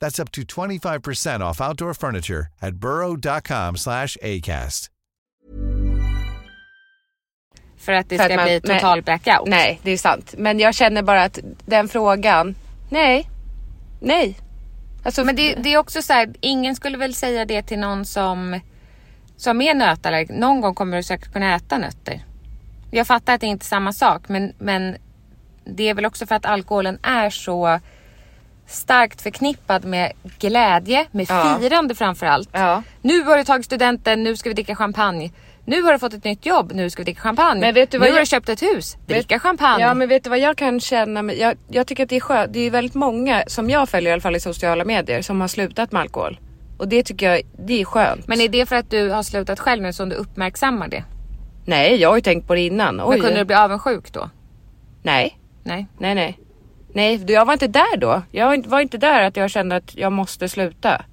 Speaker 1: That's up to 25% off outdoor furniture at burrow.com/acast.
Speaker 2: För att det
Speaker 3: För
Speaker 2: ska
Speaker 3: att man-
Speaker 2: bli
Speaker 3: nej.
Speaker 2: total blackout.
Speaker 3: Nej, det är sant. Men jag känner bara att den frågan, nej, nej. Alltså,
Speaker 2: Men det, det är också så här, ingen skulle väl säga det till någon som, som är nötallergiker. Någon gång kommer du säkert kunna äta nötter. Jag fattar att det inte är samma sak, men, men det är väl också för att alkoholen är så starkt förknippad med glädje, med
Speaker 3: Ja.
Speaker 2: firande framförallt.
Speaker 3: Ja.
Speaker 2: Nu har du tagit studenten, nu ska vi dricka champagne. Nu har du fått ett nytt jobb, nu ska vi dricka champagne.
Speaker 3: Men vet du vad
Speaker 2: nu har
Speaker 3: jag-
Speaker 2: du köpt ett hus, dricka
Speaker 3: Vet-
Speaker 2: champagne.
Speaker 3: Ja men vet du vad jag kan känna? med- Jag, jag tycker att det är skönt. Det är ju väldigt många som jag följer i alla fall i sociala medier som har slutat med alkohol. Och det tycker jag, det är skönt.
Speaker 2: Men är det för att du har slutat själv nu som du uppmärksammar det?
Speaker 3: Nej jag har ju tänkt på det innan. Oj.
Speaker 2: Men kunde du bli avundsjuk då?
Speaker 3: Nej,
Speaker 2: Nej.
Speaker 3: nej nej. Nej, du, jag var inte där då. Jag var inte- var inte där att jag kände att jag måste sluta.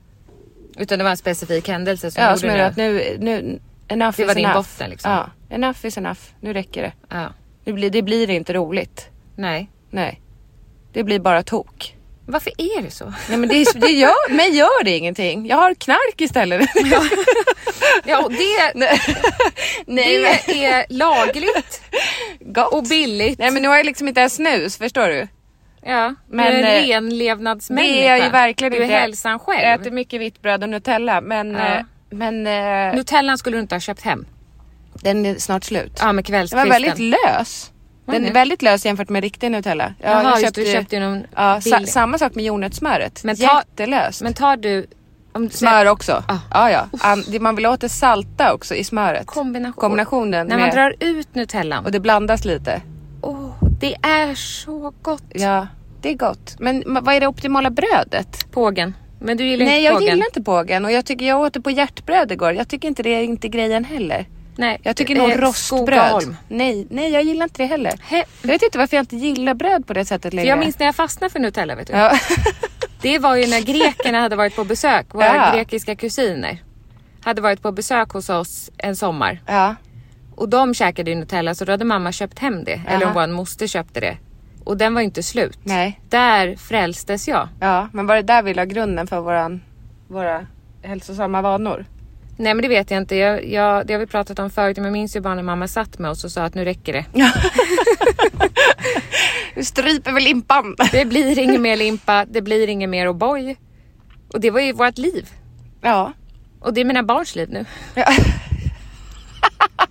Speaker 2: Utan det var en specifik händelse som
Speaker 3: ja,
Speaker 2: gjorde
Speaker 3: som gjorde
Speaker 2: det?
Speaker 3: att nu, nu, enough
Speaker 2: Det
Speaker 3: is
Speaker 2: var din
Speaker 3: enough.
Speaker 2: botten, liksom.
Speaker 3: Ja, enough is enough. Nu räcker det.
Speaker 2: Ja.
Speaker 3: Nu blir, det blir inte roligt.
Speaker 2: Nej.
Speaker 3: Nej. Det blir bara tok.
Speaker 2: Varför är det så?
Speaker 3: Nej men det, det gör, mig gör det ingenting. Jag har knark istället.
Speaker 2: Ja, och det,
Speaker 3: Nej, men,
Speaker 2: det är lagligt och billigt.
Speaker 3: nej men nu har jag liksom inte ens snus, förstår du?
Speaker 2: ja,
Speaker 3: men,
Speaker 2: du är en
Speaker 3: eh,
Speaker 2: renlevnadsmänniska.
Speaker 3: det är jag ju verkligen
Speaker 2: du är
Speaker 3: inte.
Speaker 2: hälsan
Speaker 3: Jag
Speaker 2: själv.
Speaker 3: äter mycket vitt bröd och Nutella men,
Speaker 2: Ja.
Speaker 3: eh, men eh,
Speaker 2: Nutellan skulle du inte ha köpt hem.
Speaker 3: den är snart slut.
Speaker 2: Ja, med
Speaker 3: den var
Speaker 2: kvällskvisten.
Speaker 3: väldigt lös. Den
Speaker 2: det?
Speaker 3: är väldigt lös jämfört med riktig Nutella. Ja,
Speaker 2: Jaha,
Speaker 3: jag
Speaker 2: just det, du köpte ju någon
Speaker 3: ja, sa,
Speaker 2: billig.
Speaker 3: Samma sak med jordnötssmöret.
Speaker 2: Men ta-
Speaker 3: Jättelöst.
Speaker 2: Men Ah. tar du... Om,
Speaker 3: Smör också. Ja, ja. An, det, man vill åt det salta också i smöret.
Speaker 2: Kombination.
Speaker 3: Kombinationen.
Speaker 2: När man
Speaker 3: med,
Speaker 2: drar ut nutellan.
Speaker 3: Och det blandas lite.
Speaker 2: Åh, det är så gott.
Speaker 3: Ja, det är gott. Men ma- vad är det optimala brödet?
Speaker 2: Pågen. Men du gillar
Speaker 3: Nej,
Speaker 2: inte
Speaker 3: jag
Speaker 2: pågen.
Speaker 3: gillar inte pågen och jag, tycker, jag åt det på hjärtbröd igår. Jag tycker inte det är inte grejen heller.
Speaker 2: Nej,
Speaker 3: Jag tycker
Speaker 2: eh,
Speaker 3: nog
Speaker 2: eh,
Speaker 3: rostbröd.
Speaker 2: Skogaholm.
Speaker 3: Nej, nej, jag gillar inte det heller.
Speaker 2: He-
Speaker 3: Jag vet inte varför jag inte gillar bröd på det sättet
Speaker 2: För
Speaker 3: längre.
Speaker 2: jag minns när jag fastnade för Nutella vet du.
Speaker 3: Ja.
Speaker 2: Det var ju när grekerna hade varit på besök, våra
Speaker 3: Ja.
Speaker 2: grekiska kusiner. Hade varit på besök hos oss en sommar.
Speaker 3: ja.
Speaker 2: Och de käkade ju Nutella så då hade mamma köpt hem det. Eller
Speaker 3: Aha.
Speaker 2: vår moster köpte det. Och den var ju inte slut.
Speaker 3: Nej.
Speaker 2: Där frälstes jag.
Speaker 3: Ja, men var det där vi la grunden för våran, våra hälsosamma vanor?
Speaker 2: Nej men det vet jag inte. Jag, jag, det har vi pratat om förut. Men jag minns ju bara när mamma satt med oss och sa att nu räcker det.
Speaker 3: Du stryper väl limpan?
Speaker 2: Det blir inget mer limpa, det blir inget mer O'boy. Och det var ju vårt liv.
Speaker 3: Ja.
Speaker 2: Och det är mina barns liv nu.
Speaker 3: Ja.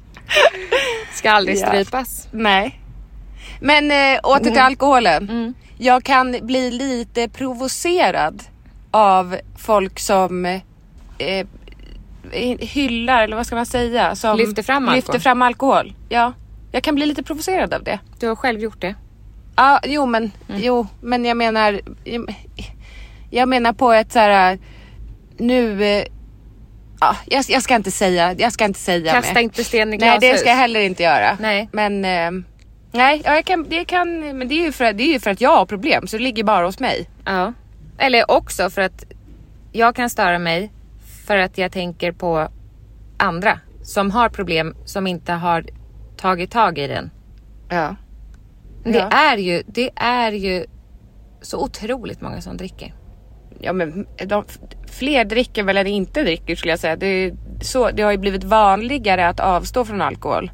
Speaker 2: Ska aldrig
Speaker 3: Ja.
Speaker 2: strypas.
Speaker 3: Nej. Men eh, åter till alkoholen. Jag kan bli lite provocerad av folk som eh, hyllar, eller vad ska man säga? Som
Speaker 2: Lyfter fram alkohol.
Speaker 3: lyfter fram alkohol. Ja. Jag kan bli lite provocerad av det.
Speaker 2: Du har själv gjort det.
Speaker 3: Ja, jo men,
Speaker 2: Mm.
Speaker 3: jo, men jag menar... Jag menar på ett så här... Nu... eh, Ja, jag, jag ska inte säga, jag ska inte säga
Speaker 2: Kasta
Speaker 3: mer.
Speaker 2: inte sten
Speaker 3: Nej,
Speaker 2: i glashus.
Speaker 3: det ska jag heller inte göra.
Speaker 2: Nej.
Speaker 3: Men, eh, nej, ja, jag kan, det kan, men det är, ju för, att- det är ju för att jag har problem så det ligger bara hos mig.
Speaker 2: Ja. Eller också för att jag kan störa mig för att jag tänker på andra som har problem som inte har tagit tag i den.
Speaker 3: Ja.
Speaker 2: Det,
Speaker 3: Ja.
Speaker 2: är ju, det är ju så otroligt många som dricker.
Speaker 3: Ja, men de, fler dricker väl än inte dricker skulle jag säga. Det, är så, det har ju blivit vanligare att avstå från alkohol.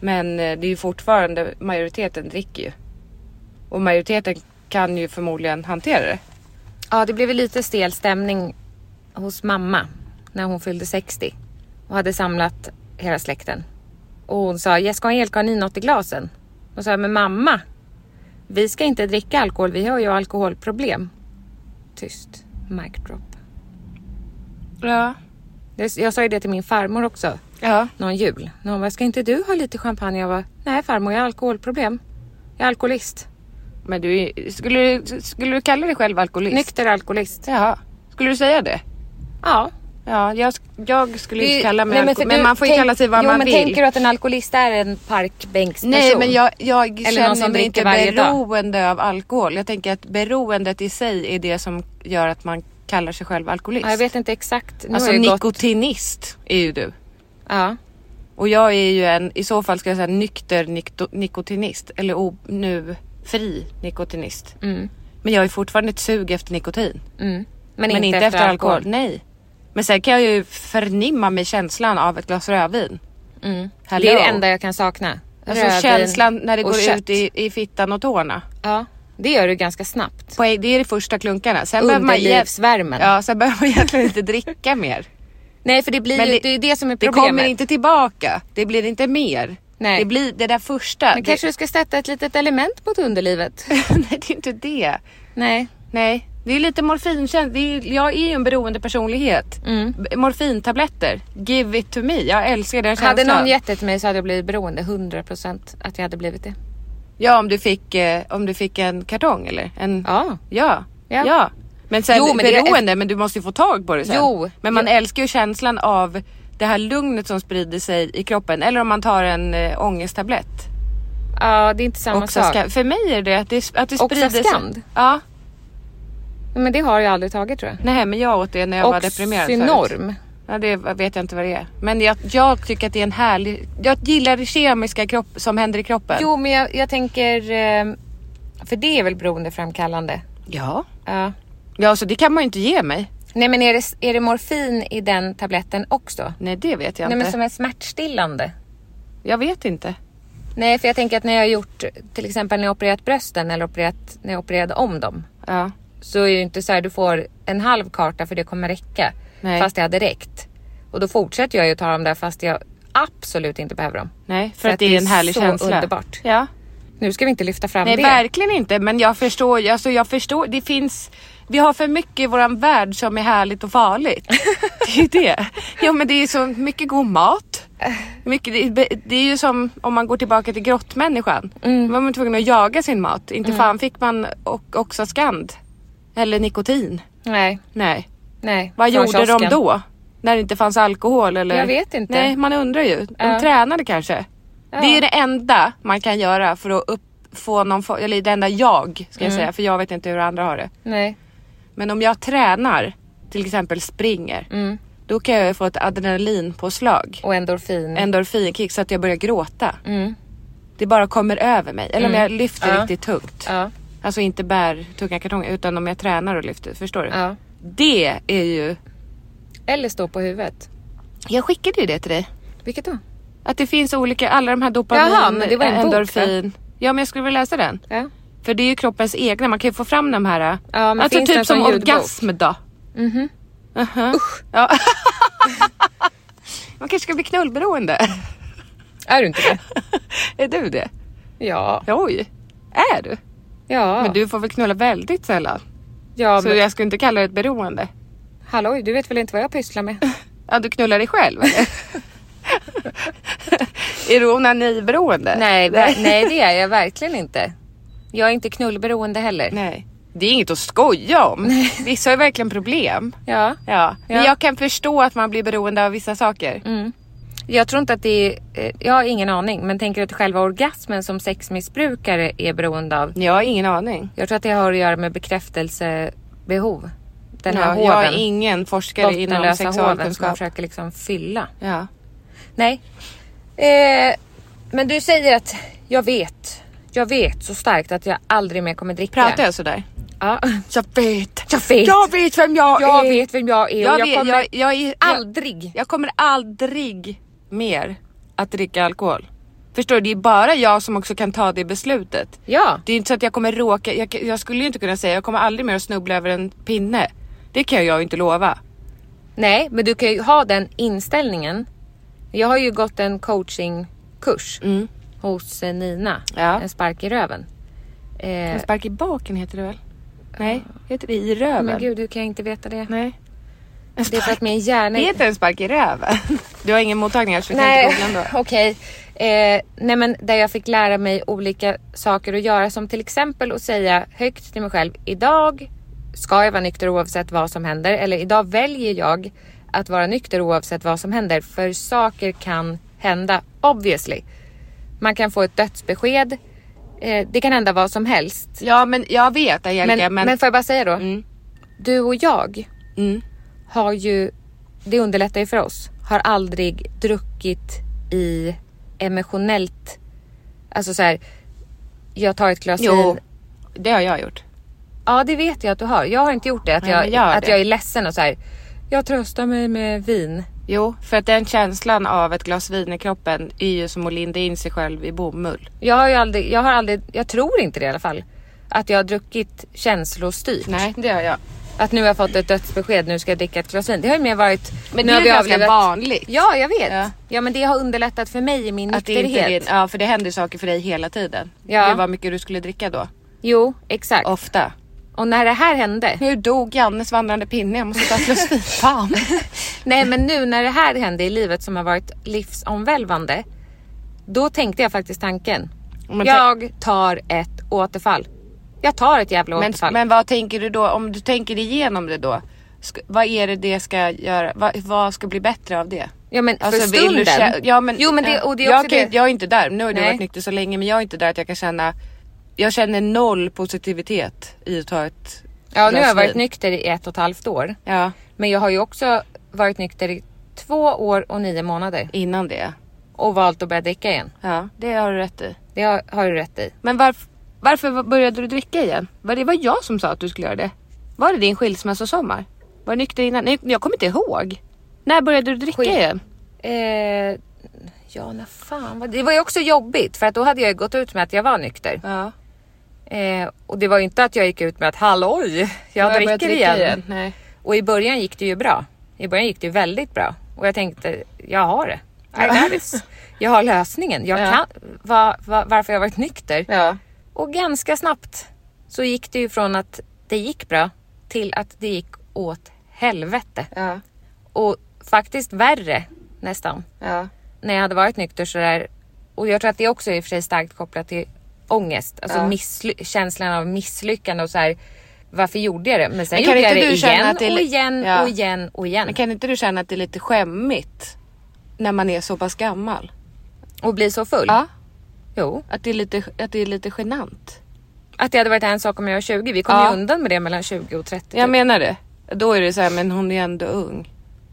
Speaker 3: Men eh, det är ju fortfarande, majoriteten dricker ju. Och majoriteten kan ju förmodligen hantera det.
Speaker 2: Ja, det blev ju lite stel stämning hos mamma när hon fyllde 60 och hade samlat hela släkten. Och hon sa, Jessica och Angelica, har ni något i glasen? Och sa, jag, men mamma, vi ska inte dricka alkohol, vi har ju alkoholproblem. Tyst, mic drop.
Speaker 3: Ja.
Speaker 2: Det- Jag sa ju det till min farmor också,
Speaker 3: Ja.
Speaker 2: någon jul. När hon var, ska inte du ha lite champagne? Jag var, nej farmor, jag har alkoholproblem. Jag är alkoholist.
Speaker 3: Men du, är- skulle, du- skulle du kalla dig själv alkoholist?
Speaker 2: Nykter alkoholist.
Speaker 3: Jaha. Skulle du säga det?
Speaker 2: Ja,
Speaker 3: Ja, jag, jag skulle inte kalla mig
Speaker 2: Nej,
Speaker 3: alko-
Speaker 2: för
Speaker 3: men,
Speaker 2: du-
Speaker 3: man får ju
Speaker 2: tänk-
Speaker 3: kalla sig vad
Speaker 2: jo,
Speaker 3: man
Speaker 2: men
Speaker 3: vill.
Speaker 2: Tänker du att en alkoholist är en parkbänksperson?
Speaker 3: Nej men jag, jag
Speaker 2: någon
Speaker 3: känner
Speaker 2: som
Speaker 3: mig
Speaker 2: dricker
Speaker 3: inte
Speaker 2: varje dag.
Speaker 3: beroende av alkohol. Jag tänker att beroendet i sig är det som gör att man kallar sig själv alkoholist.
Speaker 2: Ja, jag vet inte exakt. Nu
Speaker 3: alltså
Speaker 2: har jag gått-
Speaker 3: nikotinist är ju du.
Speaker 2: Ja.
Speaker 3: Och jag är ju en, i så fall ska jag säga nykter nikto- nikotinist. Eller o, nu fri nikotinist. Men jag är fortfarande ett sug efter nikotin.
Speaker 2: mm, Men,
Speaker 3: Men, inte, efter alkohol. Nej. Men sen kan jag ju förnimma mig känslan av ett glas rödvin. Hello.
Speaker 2: Mm. Det är det enda jag kan sakna.
Speaker 3: Alltså
Speaker 2: Rödvin
Speaker 3: känslan när det
Speaker 2: och
Speaker 3: går
Speaker 2: kött.
Speaker 3: ut i, i fittan och tårna.
Speaker 2: Ja, det gör du ganska snabbt.
Speaker 3: På, det är de första klunkarna. Sen behöver man, egent-
Speaker 2: Underlivsvärmen.
Speaker 3: ja, sen behöver man egentligen inte dricka mer.
Speaker 2: Nej, för det blir
Speaker 3: Men
Speaker 2: ju,
Speaker 3: det-
Speaker 2: det är det som är
Speaker 3: Det
Speaker 2: problemet.
Speaker 3: kommer inte tillbaka. Det blir inte mer.
Speaker 2: Nej.
Speaker 3: Det blir det där första.
Speaker 2: Men kanske
Speaker 3: det,
Speaker 2: du ska sätta ett litet element mot underlivet?
Speaker 3: nej, det är inte det.
Speaker 2: Nej.
Speaker 3: Nej, det är lite morfinkänsla. Jag är ju en beroende personlighet.
Speaker 2: Mm.
Speaker 3: B- Morfintabletter, give it to me. Jag älskar den känslan.
Speaker 2: Hade någon gett det till mig så hade jag blivit beroende 100% att jag hade blivit det.
Speaker 3: Ja, om du fick, eh, om du fick en kartong eller? En...
Speaker 2: Ja.
Speaker 3: Ja.
Speaker 2: Ja.
Speaker 3: ja. Men sen
Speaker 2: Jo, men det är-
Speaker 3: beroende, men du måste ju få tag på det sen.
Speaker 2: Jo.
Speaker 3: Men man
Speaker 2: Jo.
Speaker 3: älskar ju känslan av det här lugnet som sprider sig i kroppen. Eller om man tar en äh, ångesttablett.
Speaker 2: Ja, det är inte samma
Speaker 3: Också
Speaker 2: sak.
Speaker 3: ska- För mig är det att det, att det
Speaker 2: Också
Speaker 3: sprider
Speaker 2: skand?
Speaker 3: sig. Ja.
Speaker 2: Men det har jag aldrig tagit tror jag.
Speaker 3: Nej, men jag åt det när jag var deprimerad förut.
Speaker 2: Oxynorm.
Speaker 3: Ja, det vet jag inte vad det är. Men jag, jag tycker att det är en härlig... Jag gillar det kemiska kropp, som händer i kroppen.
Speaker 2: Jo, men jag, jag tänker... eh, För det är väl beroendeframkallande?
Speaker 3: Ja.
Speaker 2: Ja.
Speaker 3: Ja, så det kan man ju inte ge mig.
Speaker 2: Nej, men är det, är det morfin i den tabletten också?
Speaker 3: Nej, det vet jag
Speaker 2: Nej,
Speaker 3: inte.
Speaker 2: men som är smärtstillande?
Speaker 3: Jag vet inte.
Speaker 2: Nej, för jag tänker att när jag har gjort, till exempel när jag har opererat brösten eller opererat, när jag opererade om dem.
Speaker 3: Ja.
Speaker 2: Så är det ju inte så här, du får en halv karta för det kommer räcka.
Speaker 3: Nej.
Speaker 2: Fast det hade räckt. Och då fortsätter jag ju ta dem där fast jag absolut inte behöver dem.
Speaker 3: Nej, för, att, det är en härlig
Speaker 2: så
Speaker 3: känsla.
Speaker 2: underbart.
Speaker 3: Ja.
Speaker 2: Nu ska vi inte lyfta fram
Speaker 3: Nej,
Speaker 2: det.
Speaker 3: verkligen inte. Men jag förstår, alltså jag förstår, det finns, vi har för mycket i våran värld som är härligt och farligt. det är ju det. Ja men det är så mycket god mat. Mycket, det, är- det är ju som om man går tillbaka till grottmänniskan. Mm. var man tvungen att jaga sin mat. Inte fan fick man och, också skand. Eller nikotin.
Speaker 2: Nej,
Speaker 3: Nej.
Speaker 2: nej.
Speaker 3: Vad
Speaker 2: Från
Speaker 3: gjorde de
Speaker 2: kiosken.
Speaker 3: då? När det inte fanns alkohol eller?
Speaker 2: Jag vet inte.
Speaker 3: Nej, man undrar ju. De
Speaker 2: Ja.
Speaker 3: tränade kanske. Det är det enda man kan göra för att upp, få någon form, eller det enda jag ska
Speaker 2: Mm.
Speaker 3: jag säga, för jag vet inte hur andra har det.
Speaker 2: Nej.
Speaker 3: Men om jag tränar, till exempel springer,
Speaker 2: Mm.
Speaker 3: då kan jag ju få ett adrenalinpåslag.
Speaker 2: Och endorfin.
Speaker 3: Endorfinkick så att jag börjar gråta. Det bara kommer över mig. Eller om jag lyfter
Speaker 2: Mm. Ja.
Speaker 3: riktigt tungt.
Speaker 2: Ja.
Speaker 3: Alltså inte bär tunga kartonger utan om jag tränar och lyfter. Förstår du?
Speaker 2: Ja.
Speaker 3: Det är ju
Speaker 2: Eller stå på huvudet.
Speaker 3: jag skickade ju det till dig.
Speaker 2: Vilket då?
Speaker 3: Att det finns olika, alla de här dopamin,
Speaker 2: Jaha, men det var en bok,
Speaker 3: endorfin. ja men jag skulle vilja läsa den.
Speaker 2: Ja.
Speaker 3: För det är ju kroppens egna, man kan ju få fram de här.
Speaker 2: Ja, men
Speaker 3: alltså
Speaker 2: finns den
Speaker 3: typ
Speaker 2: som
Speaker 3: som
Speaker 2: ljudbok?
Speaker 3: orgasm då. Mhm. Ja. man kanske ska bli knullberoende.
Speaker 2: Är du inte det?
Speaker 3: är du det?
Speaker 2: Ja.
Speaker 3: Oj. Är du?
Speaker 2: Ja.
Speaker 3: Men du får väl knulla väldigt sällan.
Speaker 2: ja,
Speaker 3: Så
Speaker 2: men...
Speaker 3: jag skulle inte kalla det ett beroende.
Speaker 2: Halloj, du vet väl inte vad jag pysslar med?
Speaker 3: Ja du knullar dig själv eller? Är du onaniberoende?
Speaker 2: nej, ver- nej, det är jag verkligen inte. Jag är inte knullberoende heller.
Speaker 3: Nej. Det är inget att skoja om. Vissa har ju verkligen problem.
Speaker 2: Ja.
Speaker 3: Ja. Men
Speaker 2: Ja. Mm.
Speaker 3: jag kan förstå att man blir beroende av vissa saker.
Speaker 2: Jag tror inte att det är... eh, Jag har ingen aning, men tänker att själva orgasmen som sexmissbrukare är beroende av?
Speaker 3: Jag har ingen aning.
Speaker 2: Jag tror att det har att göra med bekräftelsebehov. Den här
Speaker 3: ja,
Speaker 2: hoven.
Speaker 3: jag är ingen forskare inom
Speaker 2: Bottenlösa hoven som man
Speaker 3: sexualkunskap.
Speaker 2: försöker liksom fylla.
Speaker 3: Ja.
Speaker 2: Nej. Eh, men du säger att jag vet. Jag vet så starkt att jag aldrig mer kommer dricka.
Speaker 3: Pratar jag sådär?
Speaker 2: Ja.
Speaker 3: Jag vet.
Speaker 2: Jag vet.
Speaker 3: Jag vet vem jag,
Speaker 2: Jag
Speaker 3: är.
Speaker 2: vet vem jag är och
Speaker 3: Jag,
Speaker 2: jag
Speaker 3: vet,
Speaker 2: kommer
Speaker 3: jag, jag, är, jag,
Speaker 2: aldrig.
Speaker 3: jag kommer aldrig mer att dricka alkohol. Förstår du? Det är bara jag som också kan ta det beslutet.
Speaker 2: Ja.
Speaker 3: Det är inte så att jag kommer råka, jag, jag skulle ju inte kunna säga jag kommer aldrig mer att snubbla över en pinne. Det kan jag ju inte lova.
Speaker 2: Eh. Nej, men du kan ju ha den inställningen. Jag har ju gått en coachingkurs hos eh, Nina.
Speaker 3: Mm. Ja.
Speaker 2: En spark i röven. Eh,
Speaker 3: En spark i baken heter det väl? Nej, heter det i röven?
Speaker 2: men gud, hur kan jag inte veta det?
Speaker 3: Nej.
Speaker 2: Det är för att min hjärna...
Speaker 3: Heter det en spark i röven? Du har ingen mottagning här så du kan
Speaker 2: Nej,
Speaker 3: inte googla ändå.
Speaker 2: okej. Eh, nej men där jag fick lära mig olika saker att göra som till exempel att säga högt till mig själv idag ska jag vara nykter oavsett vad som händer eller idag väljer jag att vara nykter oavsett vad som händer. För saker kan hända, obviously. Man kan få ett dödsbesked. Eh, det kan hända vad som helst.
Speaker 3: Ja, men jag vet Angelica,
Speaker 2: Men, men... får jag bara säga då. Du och jag
Speaker 3: Mm.
Speaker 2: har ju, det underlättar ju för oss, har aldrig druckit i emotionellt, alltså så här, jag tar ett glas
Speaker 3: Jo,
Speaker 2: vin.
Speaker 3: det har jag gjort.
Speaker 2: Ja det vet jag att du har. Jag har inte gjort det, att,
Speaker 3: Nej,
Speaker 2: jag,
Speaker 3: men gör
Speaker 2: att
Speaker 3: det.
Speaker 2: jag är ledsen och så här. jag tröstar mig med vin.
Speaker 3: Jo, för att den känslan av ett glas vin i kroppen är ju som att linda in sig själv i bomull.
Speaker 2: Jag har ju aldrig, jag har aldrig, jag tror inte det i alla fall, att jag har druckit känslostyrt.
Speaker 3: Nej, det har jag.
Speaker 2: Att nu har jag fått ett dödsbesked, nu ska jag dricka ett glas vin. Det har ju mer varit...
Speaker 3: Men det
Speaker 2: nu
Speaker 3: är
Speaker 2: har
Speaker 3: ju
Speaker 2: vi
Speaker 3: ganska
Speaker 2: avlevat-
Speaker 3: vanligt.
Speaker 2: Ja, jag vet. Ja.
Speaker 3: Ja.
Speaker 2: men det har underlättat för mig i min
Speaker 3: Att det inte
Speaker 2: nykterhet.
Speaker 3: är, ja, för det händer saker för dig hela tiden.
Speaker 2: Ja.
Speaker 3: Det var mycket du skulle dricka då.
Speaker 2: Jo, exakt. Och.
Speaker 3: Ofta.
Speaker 2: när det här hände.
Speaker 3: Nu dog Jannes vandrande pinne, jag måste ta ett glas vin. Fan.
Speaker 2: Nej, men nu när det här hände i livet som har varit livsomvälvande. Då tänkte jag faktiskt tanken.
Speaker 3: Men ta-
Speaker 2: jag tar ett återfall. Jag tar ett jävla
Speaker 3: Men,
Speaker 2: återfall.
Speaker 3: men vad tänker du då, om du tänker igenom det då? Sk- vad är det det ska göra? vad- vad ska bli bättre av det?
Speaker 2: ja, men för
Speaker 3: Alltså, vill
Speaker 2: stunden.
Speaker 3: du kä- ja, men,
Speaker 2: jo, men det, och det är
Speaker 3: jag,
Speaker 2: också
Speaker 3: kan-
Speaker 2: det.
Speaker 3: jag är inte där, nu har du
Speaker 2: Nej.
Speaker 3: varit nykter så länge men jag är inte där att jag kan känna Jag känner noll positivitet i att ta ett
Speaker 2: ja, nu har jag
Speaker 3: glas
Speaker 2: varit
Speaker 3: vin.
Speaker 2: nykter i ett och ett halvt år.
Speaker 3: Ja,
Speaker 2: Men jag har ju också varit nykter i två år och nio månader.
Speaker 3: innan det.
Speaker 2: Och valt att börja dricka igen.
Speaker 3: Ja, det har du rätt i.
Speaker 2: Det har, har du rätt i.
Speaker 3: Men varf- varför började du dricka igen? Var det var jag som sa att du skulle göra det? Var det din skilsmässosommar? Var du nykter innan? Nej, Jag kommer inte ihåg. När började du dricka
Speaker 2: Skil-
Speaker 3: igen?
Speaker 2: Eh, ja, när fan var det? Det var ju också jobbigt för att då hade jag ju gått ut med att jag var nykter.
Speaker 3: Ja,
Speaker 2: Eh, och det var ju inte att jag gick ut med att halloj, jag dricker igen.
Speaker 3: Nej.
Speaker 2: Och i början gick det ju bra. I början gick det ju väldigt bra. Och jag tänkte, jag har det. I got this. Jag har lösningen. Jag
Speaker 3: Ja.
Speaker 2: kan, va, va, varför jag har varit nykter.
Speaker 3: Ja.
Speaker 2: Och ganska snabbt så gick det ju från att det gick bra till att det gick åt helvete.
Speaker 3: Ja.
Speaker 2: Och faktiskt värre nästan.
Speaker 3: Ja.
Speaker 2: när jag hade varit nykter sådär. Och jag tror att det också är i och för sig starkt kopplat till ångest. Alltså missly- känslan av misslyckande och så här. Varför gjorde jag det? Men sen
Speaker 3: Men kan
Speaker 2: gjorde jag
Speaker 3: inte
Speaker 2: det
Speaker 3: du känna
Speaker 2: igen
Speaker 3: att det är
Speaker 2: och
Speaker 3: li-
Speaker 2: igen
Speaker 3: Ja.
Speaker 2: och igen och igen.
Speaker 3: Men kan inte du känna att det är lite skämmigt när man är så pass gammal?
Speaker 2: Och bli så full.
Speaker 3: Ja.
Speaker 2: Jo.
Speaker 3: Att det är lite, att det är lite genant.
Speaker 2: Att det hade varit en sak om jag var 20. Vi kom
Speaker 3: Ja.
Speaker 2: ju undan med det mellan 20 och 30.
Speaker 3: Jag
Speaker 2: typ.
Speaker 3: menar det. Då är det så här, men hon är ändå ung.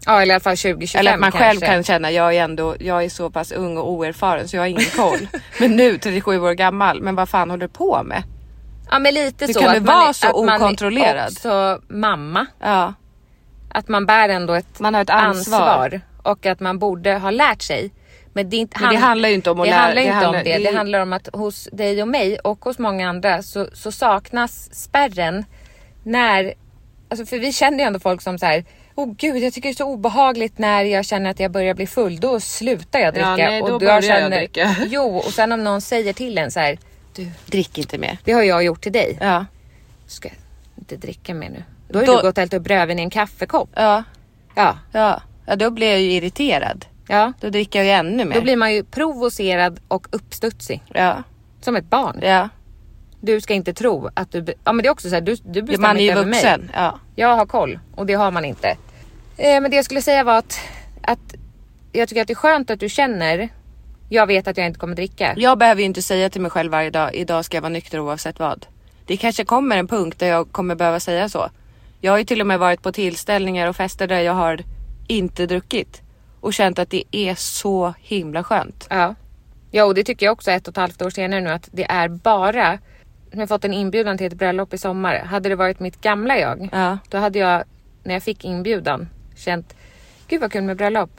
Speaker 2: ja eller i alla fall 20-25
Speaker 3: Eller att man
Speaker 2: kanske.
Speaker 3: själv kan känna, jag är ändå, jag är så pass ung och oerfaren så jag har ingen koll. men nu 37 år gammal, men vad fan håller du på med?
Speaker 2: Ja men lite
Speaker 3: Det
Speaker 2: så.
Speaker 3: kan
Speaker 2: att
Speaker 3: ju
Speaker 2: man är-
Speaker 3: vara så
Speaker 2: att man är
Speaker 3: okontrollerad.
Speaker 2: också mamma.
Speaker 3: Ja,
Speaker 2: Att man bär ändå ett,
Speaker 3: Man har ett ansvar.
Speaker 2: och att man borde ha lärt sig. Men det, är inte,
Speaker 3: Men det handlar ju inte om att
Speaker 2: det
Speaker 3: lära-
Speaker 2: handlar
Speaker 3: det
Speaker 2: inte
Speaker 3: handlar-
Speaker 2: om det.
Speaker 3: det
Speaker 2: Det
Speaker 3: är-
Speaker 2: handlar om att hos dig och mig och hos många andra så, så saknas spärren när, alltså för vi känner ju ändå folk som så här Åh gud, jag tycker det är så obehagligt när jag känner att jag börjar bli full. Då slutar jag dricka.
Speaker 3: Ja, nej, då
Speaker 2: och
Speaker 3: börjar jag dricka.
Speaker 2: Jo, och sen om någon säger till en så här. Du,
Speaker 3: drick inte mer.
Speaker 2: det har jag gjort till dig.
Speaker 3: Ja,
Speaker 2: Ska jag inte dricka mer nu? Då har
Speaker 3: Då-
Speaker 2: ju du gått och hällt upp rödvin i en kaffekopp.
Speaker 3: ja,
Speaker 2: Ja,
Speaker 3: ja. Ja, då blir jag ju irriterad.
Speaker 2: ja.
Speaker 3: Då dricker jag ju ännu mer.
Speaker 2: Då blir man ju provocerad och uppstudsig.
Speaker 3: Ja,
Speaker 2: Som ett barn.
Speaker 3: ja.
Speaker 2: Du ska inte tro att du... be- Ja men det är också så här, du, du bestämmer
Speaker 3: Man är ju
Speaker 2: inte över mig.
Speaker 3: vuxen. Ja.
Speaker 2: Jag har koll och det har man inte. Eh, men det jag skulle säga var att, att jag tycker att det är skönt att du känner, jag vet att jag inte kommer dricka.
Speaker 3: Jag behöver ju inte säga till mig själv varje dag, idag ska jag vara nykter oavsett vad. Det kanske kommer en punkt där jag kommer behöva säga så. Jag har ju till och med varit på tillställningar och fester där jag har inte druckit och känt att det är så himla skönt.
Speaker 2: Ja. ja, och det tycker jag också ett och ett halvt år senare nu att det är bara, jag har fått en inbjudan till ett bröllop i sommar. Hade det varit mitt gamla jag,
Speaker 3: Ja.
Speaker 2: då hade jag när jag fick inbjudan känt, gud vad kul med bröllop.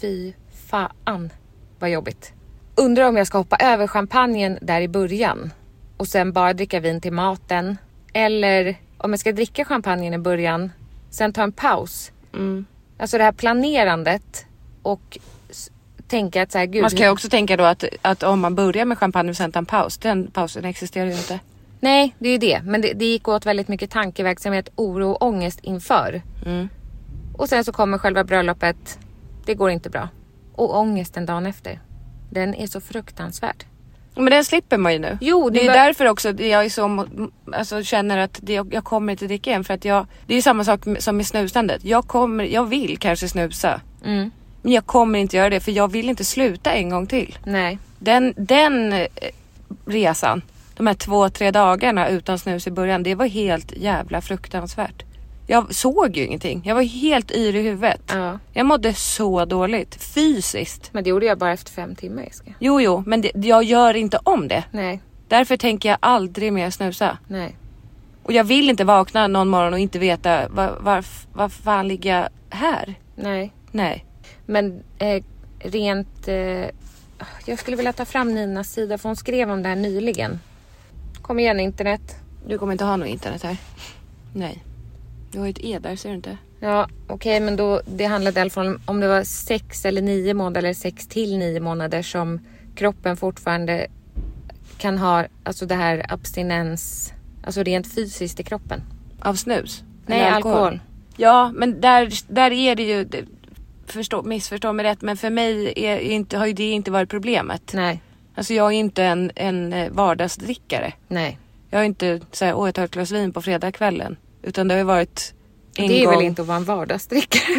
Speaker 2: Fy fan vad jobbigt. Undrar om jag ska hoppa över champagnen där i början och sen bara dricka vin till maten. Eller om jag ska dricka champagnen i början, sen ta en paus. Alltså det här planerandet och s- tänka att så här, gud,
Speaker 3: Man ska ju också tänka då att, att om man börjar med champagne och sen tar en paus, den pausen existerar ju inte.
Speaker 2: Nej, det är ju det. Men det, det gick åt väldigt mycket tankeverksamhet, oro och ångest inför.
Speaker 3: Mm.
Speaker 2: Och sen så kommer själva bröllopet. Det går inte bra. Och ångesten dagen efter. Den är så fruktansvärd.
Speaker 3: Men den slipper man ju nu.
Speaker 2: Jo,
Speaker 3: det
Speaker 2: det
Speaker 3: är
Speaker 2: var-
Speaker 3: därför också det jag är så, mo- alltså, känner att det, jag kommer inte dricka igen. För att jag, det är ju samma sak med- som med snusandet. Jag, kommer, jag vill kanske snusa. Men jag kommer inte göra det för jag vill inte sluta en gång till.
Speaker 2: Nej.
Speaker 3: Den, den eh, resan, de här två, tre dagarna utan snus i början, det var helt jävla fruktansvärt. Jag såg ju ingenting. Jag var helt yr i huvudet.
Speaker 2: Ja.
Speaker 3: Jag mådde så dåligt fysiskt.
Speaker 2: Men det gjorde jag bara efter fem timmar Jessica.
Speaker 3: Jo, jo, men det, jag gör inte om det.
Speaker 2: Nej,
Speaker 3: Därför tänker jag aldrig mer snusa.
Speaker 2: nej.
Speaker 3: Och jag vill inte vakna någon morgon och inte veta var, var, var fan ligger jag här?
Speaker 2: Nej.
Speaker 3: Nej.
Speaker 2: Men eh, rent... Eh, jag skulle vilja ta fram Ninas sida för hon skrev om det här nyligen. Kom igen internet.
Speaker 3: Du kommer inte ha något internet här. Nej. Du har ju ett E där ser du inte?
Speaker 2: Ja, okej, men då det handlade i alla fall om, om det var sex eller nio månader eller sex till nio månader som kroppen fortfarande kan ha, alltså det här abstinens, alltså rent fysiskt i kroppen.
Speaker 3: Av snus?
Speaker 2: Nej,
Speaker 3: Eller
Speaker 2: alkohol.
Speaker 3: Ja, men där, där är det ju... det- Förstå, missförstå mig rätt, men för mig är inte, har ju det inte varit problemet.
Speaker 2: Nej,
Speaker 3: Alltså jag är inte en, en eh, vardagsdrickare.
Speaker 2: nej.
Speaker 3: Jag är inte såhär, åh jag tar ett glas vin på fredagskvällen. Utan det har ju varit en
Speaker 2: det är
Speaker 3: gång.
Speaker 2: väl inte att vara en vardagsdrickare?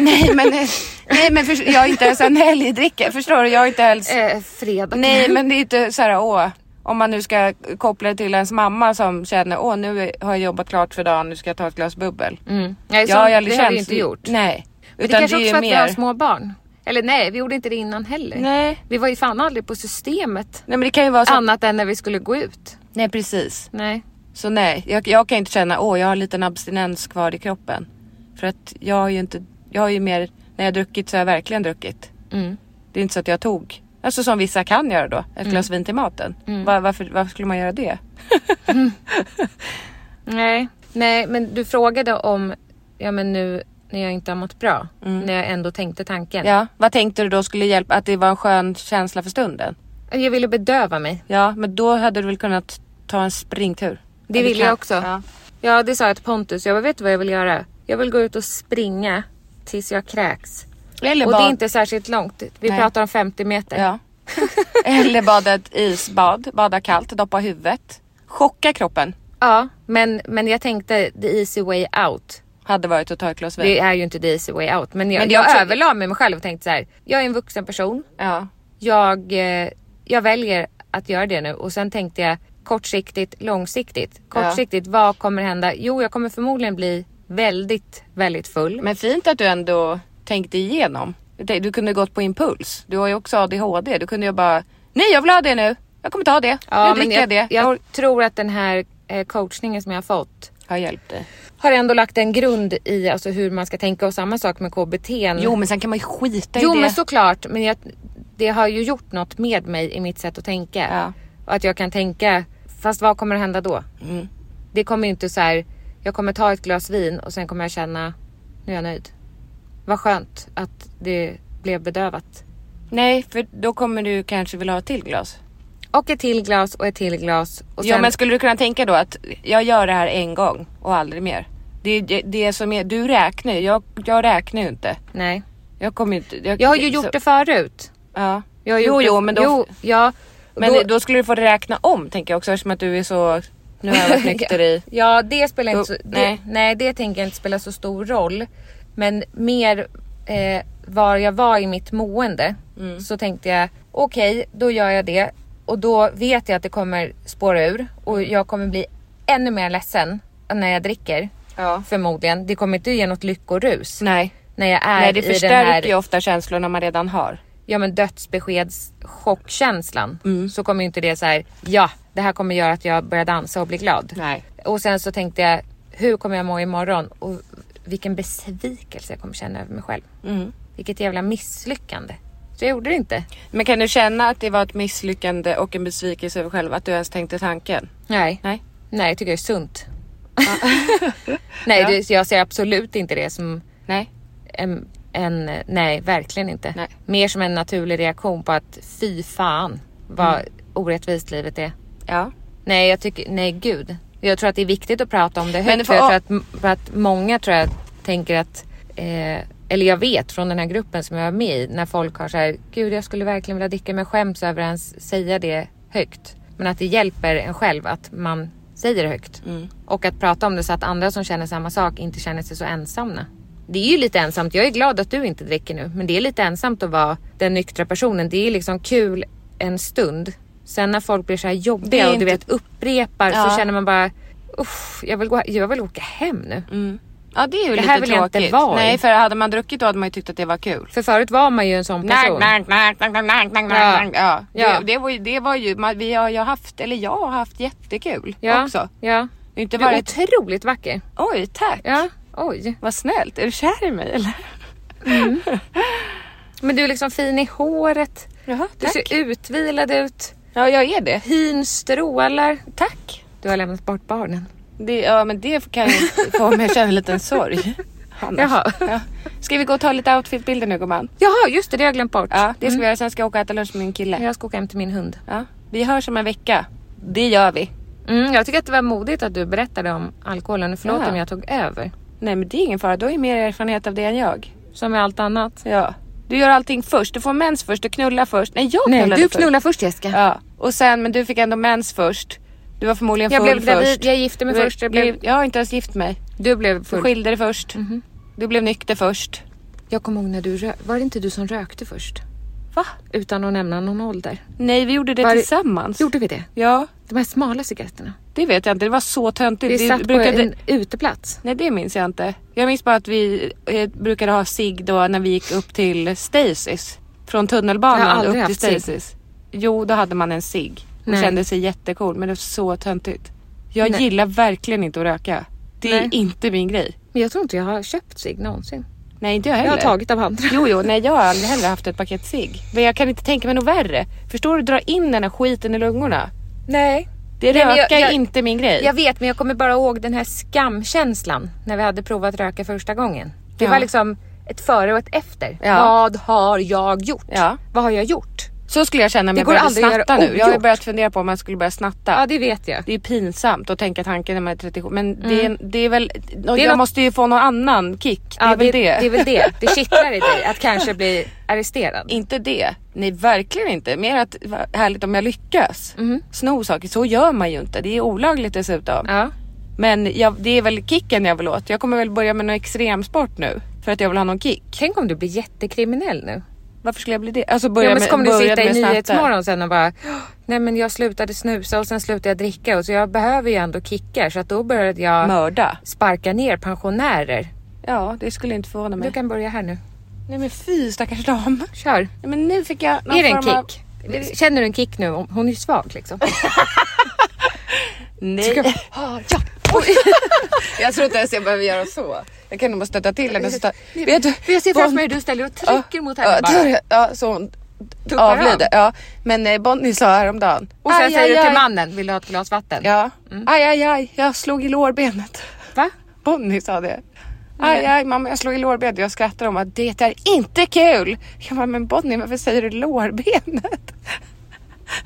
Speaker 3: Nej men, eh, nej, men först- jag är inte ens en helgdricka, förstår du? Jag är inte ens...
Speaker 2: Eh, fredag.
Speaker 3: Nej men det är inte så här, åh. Om man nu ska koppla det till ens mamma som känner, åh nu är- har jag jobbat klart för dagen, nu ska jag ta ett glas bubbel.
Speaker 2: Mm. Nej, så,
Speaker 3: jag har ju aldrig
Speaker 2: det har vi
Speaker 3: känt-
Speaker 2: inte gjort.
Speaker 3: Nej.
Speaker 2: Men
Speaker 3: Utan
Speaker 2: det
Speaker 3: det,
Speaker 2: kanske
Speaker 3: är
Speaker 2: också
Speaker 3: ju
Speaker 2: var att vi har
Speaker 3: mer...
Speaker 2: små barn. Eller nej, vi gjorde inte det innan heller.
Speaker 3: Nej. Alltså-
Speaker 2: Vi var ju fan aldrig på systemet.
Speaker 3: Nej men det kan ju vara så.
Speaker 2: Annat än när vi skulle gå ut.
Speaker 3: Nej precis.
Speaker 2: Nej.
Speaker 3: Så nej, jag, jag kan inte känna, åh jag har en liten abstinens kvar i kroppen. För att jag har ju inte, jag har ju mer, när jag har druckit så har jag verkligen druckit.
Speaker 2: Mm.
Speaker 3: Det är inte så att jag tog, alltså som vissa kan göra då, ett glas vin till maten.
Speaker 2: Mm.
Speaker 3: Va, varför, varför skulle man göra det?
Speaker 2: Nej. Nej, men du frågade om, ja men nu när jag inte har mått bra, när jag ändå tänkte tanken.
Speaker 3: Mm. Ja, vad tänkte du då skulle hjälpa, att det var en skön känsla för stunden?
Speaker 2: Jag ville bedöva mig.
Speaker 3: Ja, men då hade du väl kunnat ta en springtur?
Speaker 2: Det
Speaker 3: Eller
Speaker 2: ville jag
Speaker 3: kan-
Speaker 2: också.
Speaker 3: Ja.
Speaker 2: Ja, det sa jag till Pontus. Jag bara, vet du vad jag vill göra? Jag vill gå ut och springa tills jag kräks.
Speaker 3: Eller
Speaker 2: Och det
Speaker 3: bad,
Speaker 2: är inte särskilt långt. Vi
Speaker 3: Nej.
Speaker 2: pratar om 50 meter.
Speaker 3: ja. Eller bada ett isbad, bada kallt, doppa huvudet. Chocka kroppen
Speaker 2: Ja, men, men jag tänkte the easy way out.
Speaker 3: hade varit att ta ett glas vin.
Speaker 2: Det är ju inte the easy way out. Men jag,
Speaker 3: Men det är
Speaker 2: jag
Speaker 3: också-
Speaker 2: överlade med mig själv och tänkte så här. Jag är en vuxen person.
Speaker 3: Ja.
Speaker 2: jag, eh, jag väljer att göra det nu och sen tänkte jag kortsiktigt, långsiktigt. Kortsiktigt, vad kommer hända? Jo, jag kommer förmodligen bli väldigt, väldigt full.
Speaker 3: Men fint att du ändå tänkte igenom. Du tänkte- Du kunde gått på impuls. Du har ju också ADHD. Du kunde ju bara, nej jag vill ha det nu. Jag kommer ta det. nu dricker jag,
Speaker 2: jag,
Speaker 3: det.
Speaker 2: jag tror att den här eh, coachningen som jag har fått
Speaker 3: har hjälpt dig.
Speaker 2: har ändå lagt en grund i alltså, hur man ska tänka och samma sak med KBT.
Speaker 3: Jo men sen kan man ju skita
Speaker 2: Mm. Jo
Speaker 3: i det.
Speaker 2: men såklart, men jag, det har ju gjort något med mig i mitt sätt att tänka.
Speaker 3: Ja.
Speaker 2: Och att jag kan tänka, fast vad kommer att hända då?
Speaker 3: Mm.
Speaker 2: Det kommer ju inte så här, jag kommer ta ett glas vin och sen kommer jag känna, nu är jag nöjd. Vad skönt att det blev bedövat.
Speaker 3: Nej för då kommer du kanske vilja ha ett till glas.
Speaker 2: Och ett till glas och ett till glas. Och sen,
Speaker 3: Ja men skulle du kunna tänka då att jag gör det här en gång och aldrig mer. Det är det, det som är, du räknar ju. Jag, jag räknar ju inte.
Speaker 2: nej.
Speaker 3: Jag kommer ju inte.
Speaker 2: Jag har ju gjort
Speaker 3: så-
Speaker 2: det förut.
Speaker 3: Ja.
Speaker 2: Jag har
Speaker 3: jo
Speaker 2: gjort
Speaker 3: jo
Speaker 2: det,
Speaker 3: men då.
Speaker 2: Jo, ja.
Speaker 3: men då, skulle du få räkna om tänker jag också eftersom att du är så, nu har jag varit nykter i
Speaker 2: Ja, det spelar inte så,
Speaker 3: Då-
Speaker 2: det, nej.
Speaker 3: nej.
Speaker 2: det tänker jag inte spela så stor roll. Men mer eh, var jag var i mitt mående
Speaker 3: Mm.
Speaker 2: så tänkte jag okej, då gör jag det och då vet jag att det kommer spåra ur och
Speaker 3: Mm.
Speaker 2: jag kommer bli ännu mer ledsen när jag dricker.
Speaker 3: Ja.
Speaker 2: Förmodligen. Det kommer inte ge något lyckorus
Speaker 3: Nej.
Speaker 2: när jag är
Speaker 3: Nej det
Speaker 2: i den här
Speaker 3: förstärker ju ofta känslorna man redan har.
Speaker 2: ja, men dödsbeskedschockkänslan
Speaker 3: Mm.
Speaker 2: så kommer ju inte det så här, ja det här kommer göra att jag börjar dansa och bli glad.
Speaker 3: Nej.
Speaker 2: Och sen så tänkte jag, hur kommer jag må imorgon? Och vilken besvikelse jag kommer känna över mig själv.
Speaker 3: Mm.
Speaker 2: Vilket jävla misslyckande. Så jag gjorde det inte.
Speaker 3: Men kan du känna att det var ett misslyckande och en besvikelse över själv att du ens tänkte tanken?
Speaker 2: Nej.
Speaker 3: Nej.
Speaker 2: Nej, jag tycker det är sunt. nej, det, jag ser absolut inte det som
Speaker 3: Nej.
Speaker 2: en, en nej, verkligen inte.
Speaker 3: Nej.
Speaker 2: Mer som en naturlig reaktion på att fy fan vad
Speaker 3: Mm.
Speaker 2: orättvist livet är.
Speaker 3: Ja.
Speaker 2: Nej, jag tycker, nej gud. Jag tror att det är viktigt att prata om det högt.
Speaker 3: det
Speaker 2: för,
Speaker 3: får-
Speaker 2: jag tror att, för att många tror jag tänker att, eh, eller jag vet från den här gruppen som jag är med i, när folk har så här, gud jag skulle verkligen vilja dricka men skäms över att ens säga det högt. Men att det hjälper en själv att man säger det högt.
Speaker 3: Mm.
Speaker 2: Och att prata om det så att andra som känner samma sak inte känner sig så ensamma. Det är ju lite ensamt. Jag är glad att du inte dricker nu, men det är lite ensamt att vara den nyktra personen. Det är liksom kul en stund. Sen när folk blir så här
Speaker 3: Det
Speaker 2: jobbiga
Speaker 3: är
Speaker 2: och
Speaker 3: inte-
Speaker 2: du vet upprepar
Speaker 3: Ja.
Speaker 2: så känner man bara Uff, jag, vill gå, jag vill åka hem nu.
Speaker 3: Ja det är ju lite
Speaker 2: här vill jag
Speaker 3: tråkigt.
Speaker 2: inte vara i.
Speaker 3: Nej för hade man druckit då hade man ju tyckt att det var kul.
Speaker 2: För förut var man ju en sån person.
Speaker 3: Ja, ja.
Speaker 2: Ja.
Speaker 3: Det, det, var ju, det var ju, man, vi har ju haft, eller jag har haft jättekul
Speaker 2: ja,
Speaker 3: också.
Speaker 2: Ja.
Speaker 3: Det är inte
Speaker 2: Du är
Speaker 3: bara ett,
Speaker 2: otroligt vacker.
Speaker 3: oj tack,
Speaker 2: Ja, oj.
Speaker 3: vad snällt, är du kär i mig eller?
Speaker 2: Men du är liksom fin i håret.
Speaker 3: Jaha,
Speaker 2: Du ser utvilad ut.
Speaker 3: Ja jag är det.
Speaker 2: Hyn strålar.
Speaker 3: Tack.
Speaker 2: Du har lämnat bort barnen.
Speaker 3: Det, ja men det kan ju få mig att känna en liten sorg. Annars.
Speaker 2: Jaha.
Speaker 3: Ja. Ska vi gå och ta lite outfitbilder nu gumman?
Speaker 2: Jaha, just det. Det har jag glömt bort.
Speaker 3: Ja det ska vi
Speaker 2: Mm.
Speaker 3: göra, sen ska jag åka och äta lunch med min kille.
Speaker 2: Jag ska åka hem till min hund.
Speaker 3: Ja. Vi hörs om en vecka. Det gör vi.
Speaker 2: Mm, jag tycker att det var modigt att du berättade om alkoholen. Förlåt
Speaker 3: Ja.
Speaker 2: om jag tog över.
Speaker 3: Nej men det är ingen fara, du har ju mer erfarenhet av det än jag.
Speaker 2: Som med allt annat.
Speaker 3: Ja. Du gör allting först. Du får mens först, du knullar först. Nej, jag
Speaker 2: Nej,
Speaker 3: knullade
Speaker 2: du
Speaker 3: först.
Speaker 2: knullar först Jessica.
Speaker 3: Ja. Och sen, men du fick ändå mens först. Du var förmodligen
Speaker 2: Jag
Speaker 3: full
Speaker 2: blev gravid,
Speaker 3: först.
Speaker 2: jag gifte mig
Speaker 3: Du-
Speaker 2: först, jag blev-
Speaker 3: Jag har inte ens gift mig.
Speaker 2: Du blev
Speaker 3: Du
Speaker 2: full.
Speaker 3: skilde dig först. Du blev nykter först.
Speaker 2: Jag kommer ihåg när du rökte. Var det inte du som rökte först?
Speaker 3: Va?
Speaker 2: Utan att nämna någon ålder.
Speaker 3: Nej, vi gjorde det
Speaker 2: Var-
Speaker 3: tillsammans.
Speaker 2: Gjorde vi det?
Speaker 3: Ja,
Speaker 2: De här smala cigaretterna.
Speaker 3: det vet jag inte. Det var så töntigt.
Speaker 2: Vi satt
Speaker 3: brukade...
Speaker 2: på en uteplats.
Speaker 3: Nej, det minns jag inte. Jag minns bara att vi eh, brukade ha cigg då när vi gick upp till Stasis. Från
Speaker 2: Jag har
Speaker 3: tunnelbanan
Speaker 2: aldrig
Speaker 3: upp till
Speaker 2: haft cigg.
Speaker 3: Stasis. Jo, då hade man en cigg och
Speaker 2: Nej.
Speaker 3: kände sig jättecool. Men det var så töntigt. Jag
Speaker 2: Nej.
Speaker 3: gillar verkligen inte att röka. Det är
Speaker 2: Nej.
Speaker 3: inte min grej.
Speaker 2: Men jag tror inte jag har köpt cigg någonsin.
Speaker 3: Nej, inte jag heller.
Speaker 2: Jag har tagit av andra.
Speaker 3: Jo, jo, nej jag har aldrig heller haft ett paket cigg. Men jag kan inte tänka mig något värre. Förstår du? Dra in den här skiten i lungorna.
Speaker 2: Nej.
Speaker 3: Det
Speaker 2: Nej, men jag-
Speaker 3: röka är
Speaker 2: jag-
Speaker 3: inte min grej.
Speaker 2: Jag vet, men jag kommer bara ihåg den här skamkänslan när vi hade provat röka första gången. Det
Speaker 3: Ja.
Speaker 2: var liksom ett före och ett efter.
Speaker 3: Ja.
Speaker 2: Vad har jag gjort?
Speaker 3: Ja.
Speaker 2: Vad har jag gjort?
Speaker 3: Så skulle jag känna om
Speaker 2: Det
Speaker 3: jag
Speaker 2: går
Speaker 3: började
Speaker 2: aldrig att göra
Speaker 3: snatta nu. Jag har ju
Speaker 2: ogjort.
Speaker 3: börjat fundera på om man skulle börja snatta.
Speaker 2: Ja, det vet jag.
Speaker 3: Det är pinsamt att tänka tanken när man är 37 men det, är, det är väl, jag
Speaker 2: Mm. något-
Speaker 3: måste ju få någon annan kick. Det
Speaker 2: Ja,
Speaker 3: är väl det.
Speaker 2: Det är väl det. Det kittlar i dig att kanske bli arresterad.
Speaker 3: Inte det. Nej verkligen inte. Mer att vad härligt om jag lyckas. Sno saker, så gör man ju inte. Det är olagligt dessutom.
Speaker 2: Mm. Ja.
Speaker 3: Men jag, det är väl kicken jag vill åt. Jag kommer väl börja med någon extremsport nu. För att jag vill ha någon kick.
Speaker 2: Tänk om du blir jättekriminell nu.
Speaker 3: Varför skulle jag bli det? Alltså börja
Speaker 2: Ja, men
Speaker 3: med,
Speaker 2: så kommer du
Speaker 3: börja
Speaker 2: sitta i
Speaker 3: med snatta.
Speaker 2: Nyhetsmorgon sen och bara Nej men jag slutade snusa och sen slutade jag dricka och så jag behöver ju ändå kickar så att då började jag
Speaker 3: Mörda.
Speaker 2: sparka ner pensionärer.
Speaker 3: Ja det skulle inte förvåna mig.
Speaker 2: Du kan börja här nu.
Speaker 3: Nej men fy stackars dam.
Speaker 2: Kör.
Speaker 3: Nej, men nu fick jag någon
Speaker 2: Är det en
Speaker 3: form av-
Speaker 2: kick? Känner du en kick nu? Hon är ju svag liksom.
Speaker 3: Nej. Jag, jag tror inte ens jag behöver göra så. Jag kan nog bara stötta till henne. Så tar, vet du,
Speaker 2: Jag ser framför
Speaker 3: Bon-
Speaker 2: mig hur du ställer och trycker mot henne
Speaker 3: ja,
Speaker 2: bara.
Speaker 3: dörr- Ja, så hon
Speaker 2: Tuppar
Speaker 3: avlider. Ja. Men eh, Bonnie sa häromdagen.
Speaker 2: Och sen
Speaker 3: "Aj,
Speaker 2: säger
Speaker 3: aj,
Speaker 2: du till Mm.
Speaker 3: aj."
Speaker 2: mannen, vill du ha ett glas vatten?
Speaker 3: Ja. Aj, aj, aj, jag slog i lårbenet.
Speaker 2: Va?
Speaker 3: Bonnie sa det. Aj, aj, mamma, jag slog i lårbenet. Jag skrattade om att det är inte kul. Jag bara, men Bonnie, varför säger du lårbenet?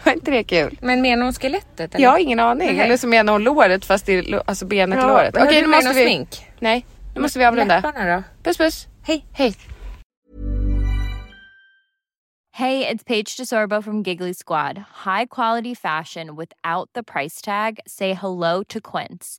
Speaker 3: Var inte det kul?
Speaker 2: Men menar hon skelettet? Eller?
Speaker 3: Jag har ingen aning.
Speaker 2: Nej.
Speaker 3: Eller så menar hon låret fast det är lo- alltså benet
Speaker 2: Ja,
Speaker 3: låret.
Speaker 2: men har du med någon smink?
Speaker 3: Nej, nu måste vi avrunda.
Speaker 2: Läpparna då?
Speaker 3: Puss puss.
Speaker 2: Hej.
Speaker 3: Hej.
Speaker 5: Hey, it's Paige DeSorbo from Giggly Squad. High quality fashion without the price tag. Say hello to Quince.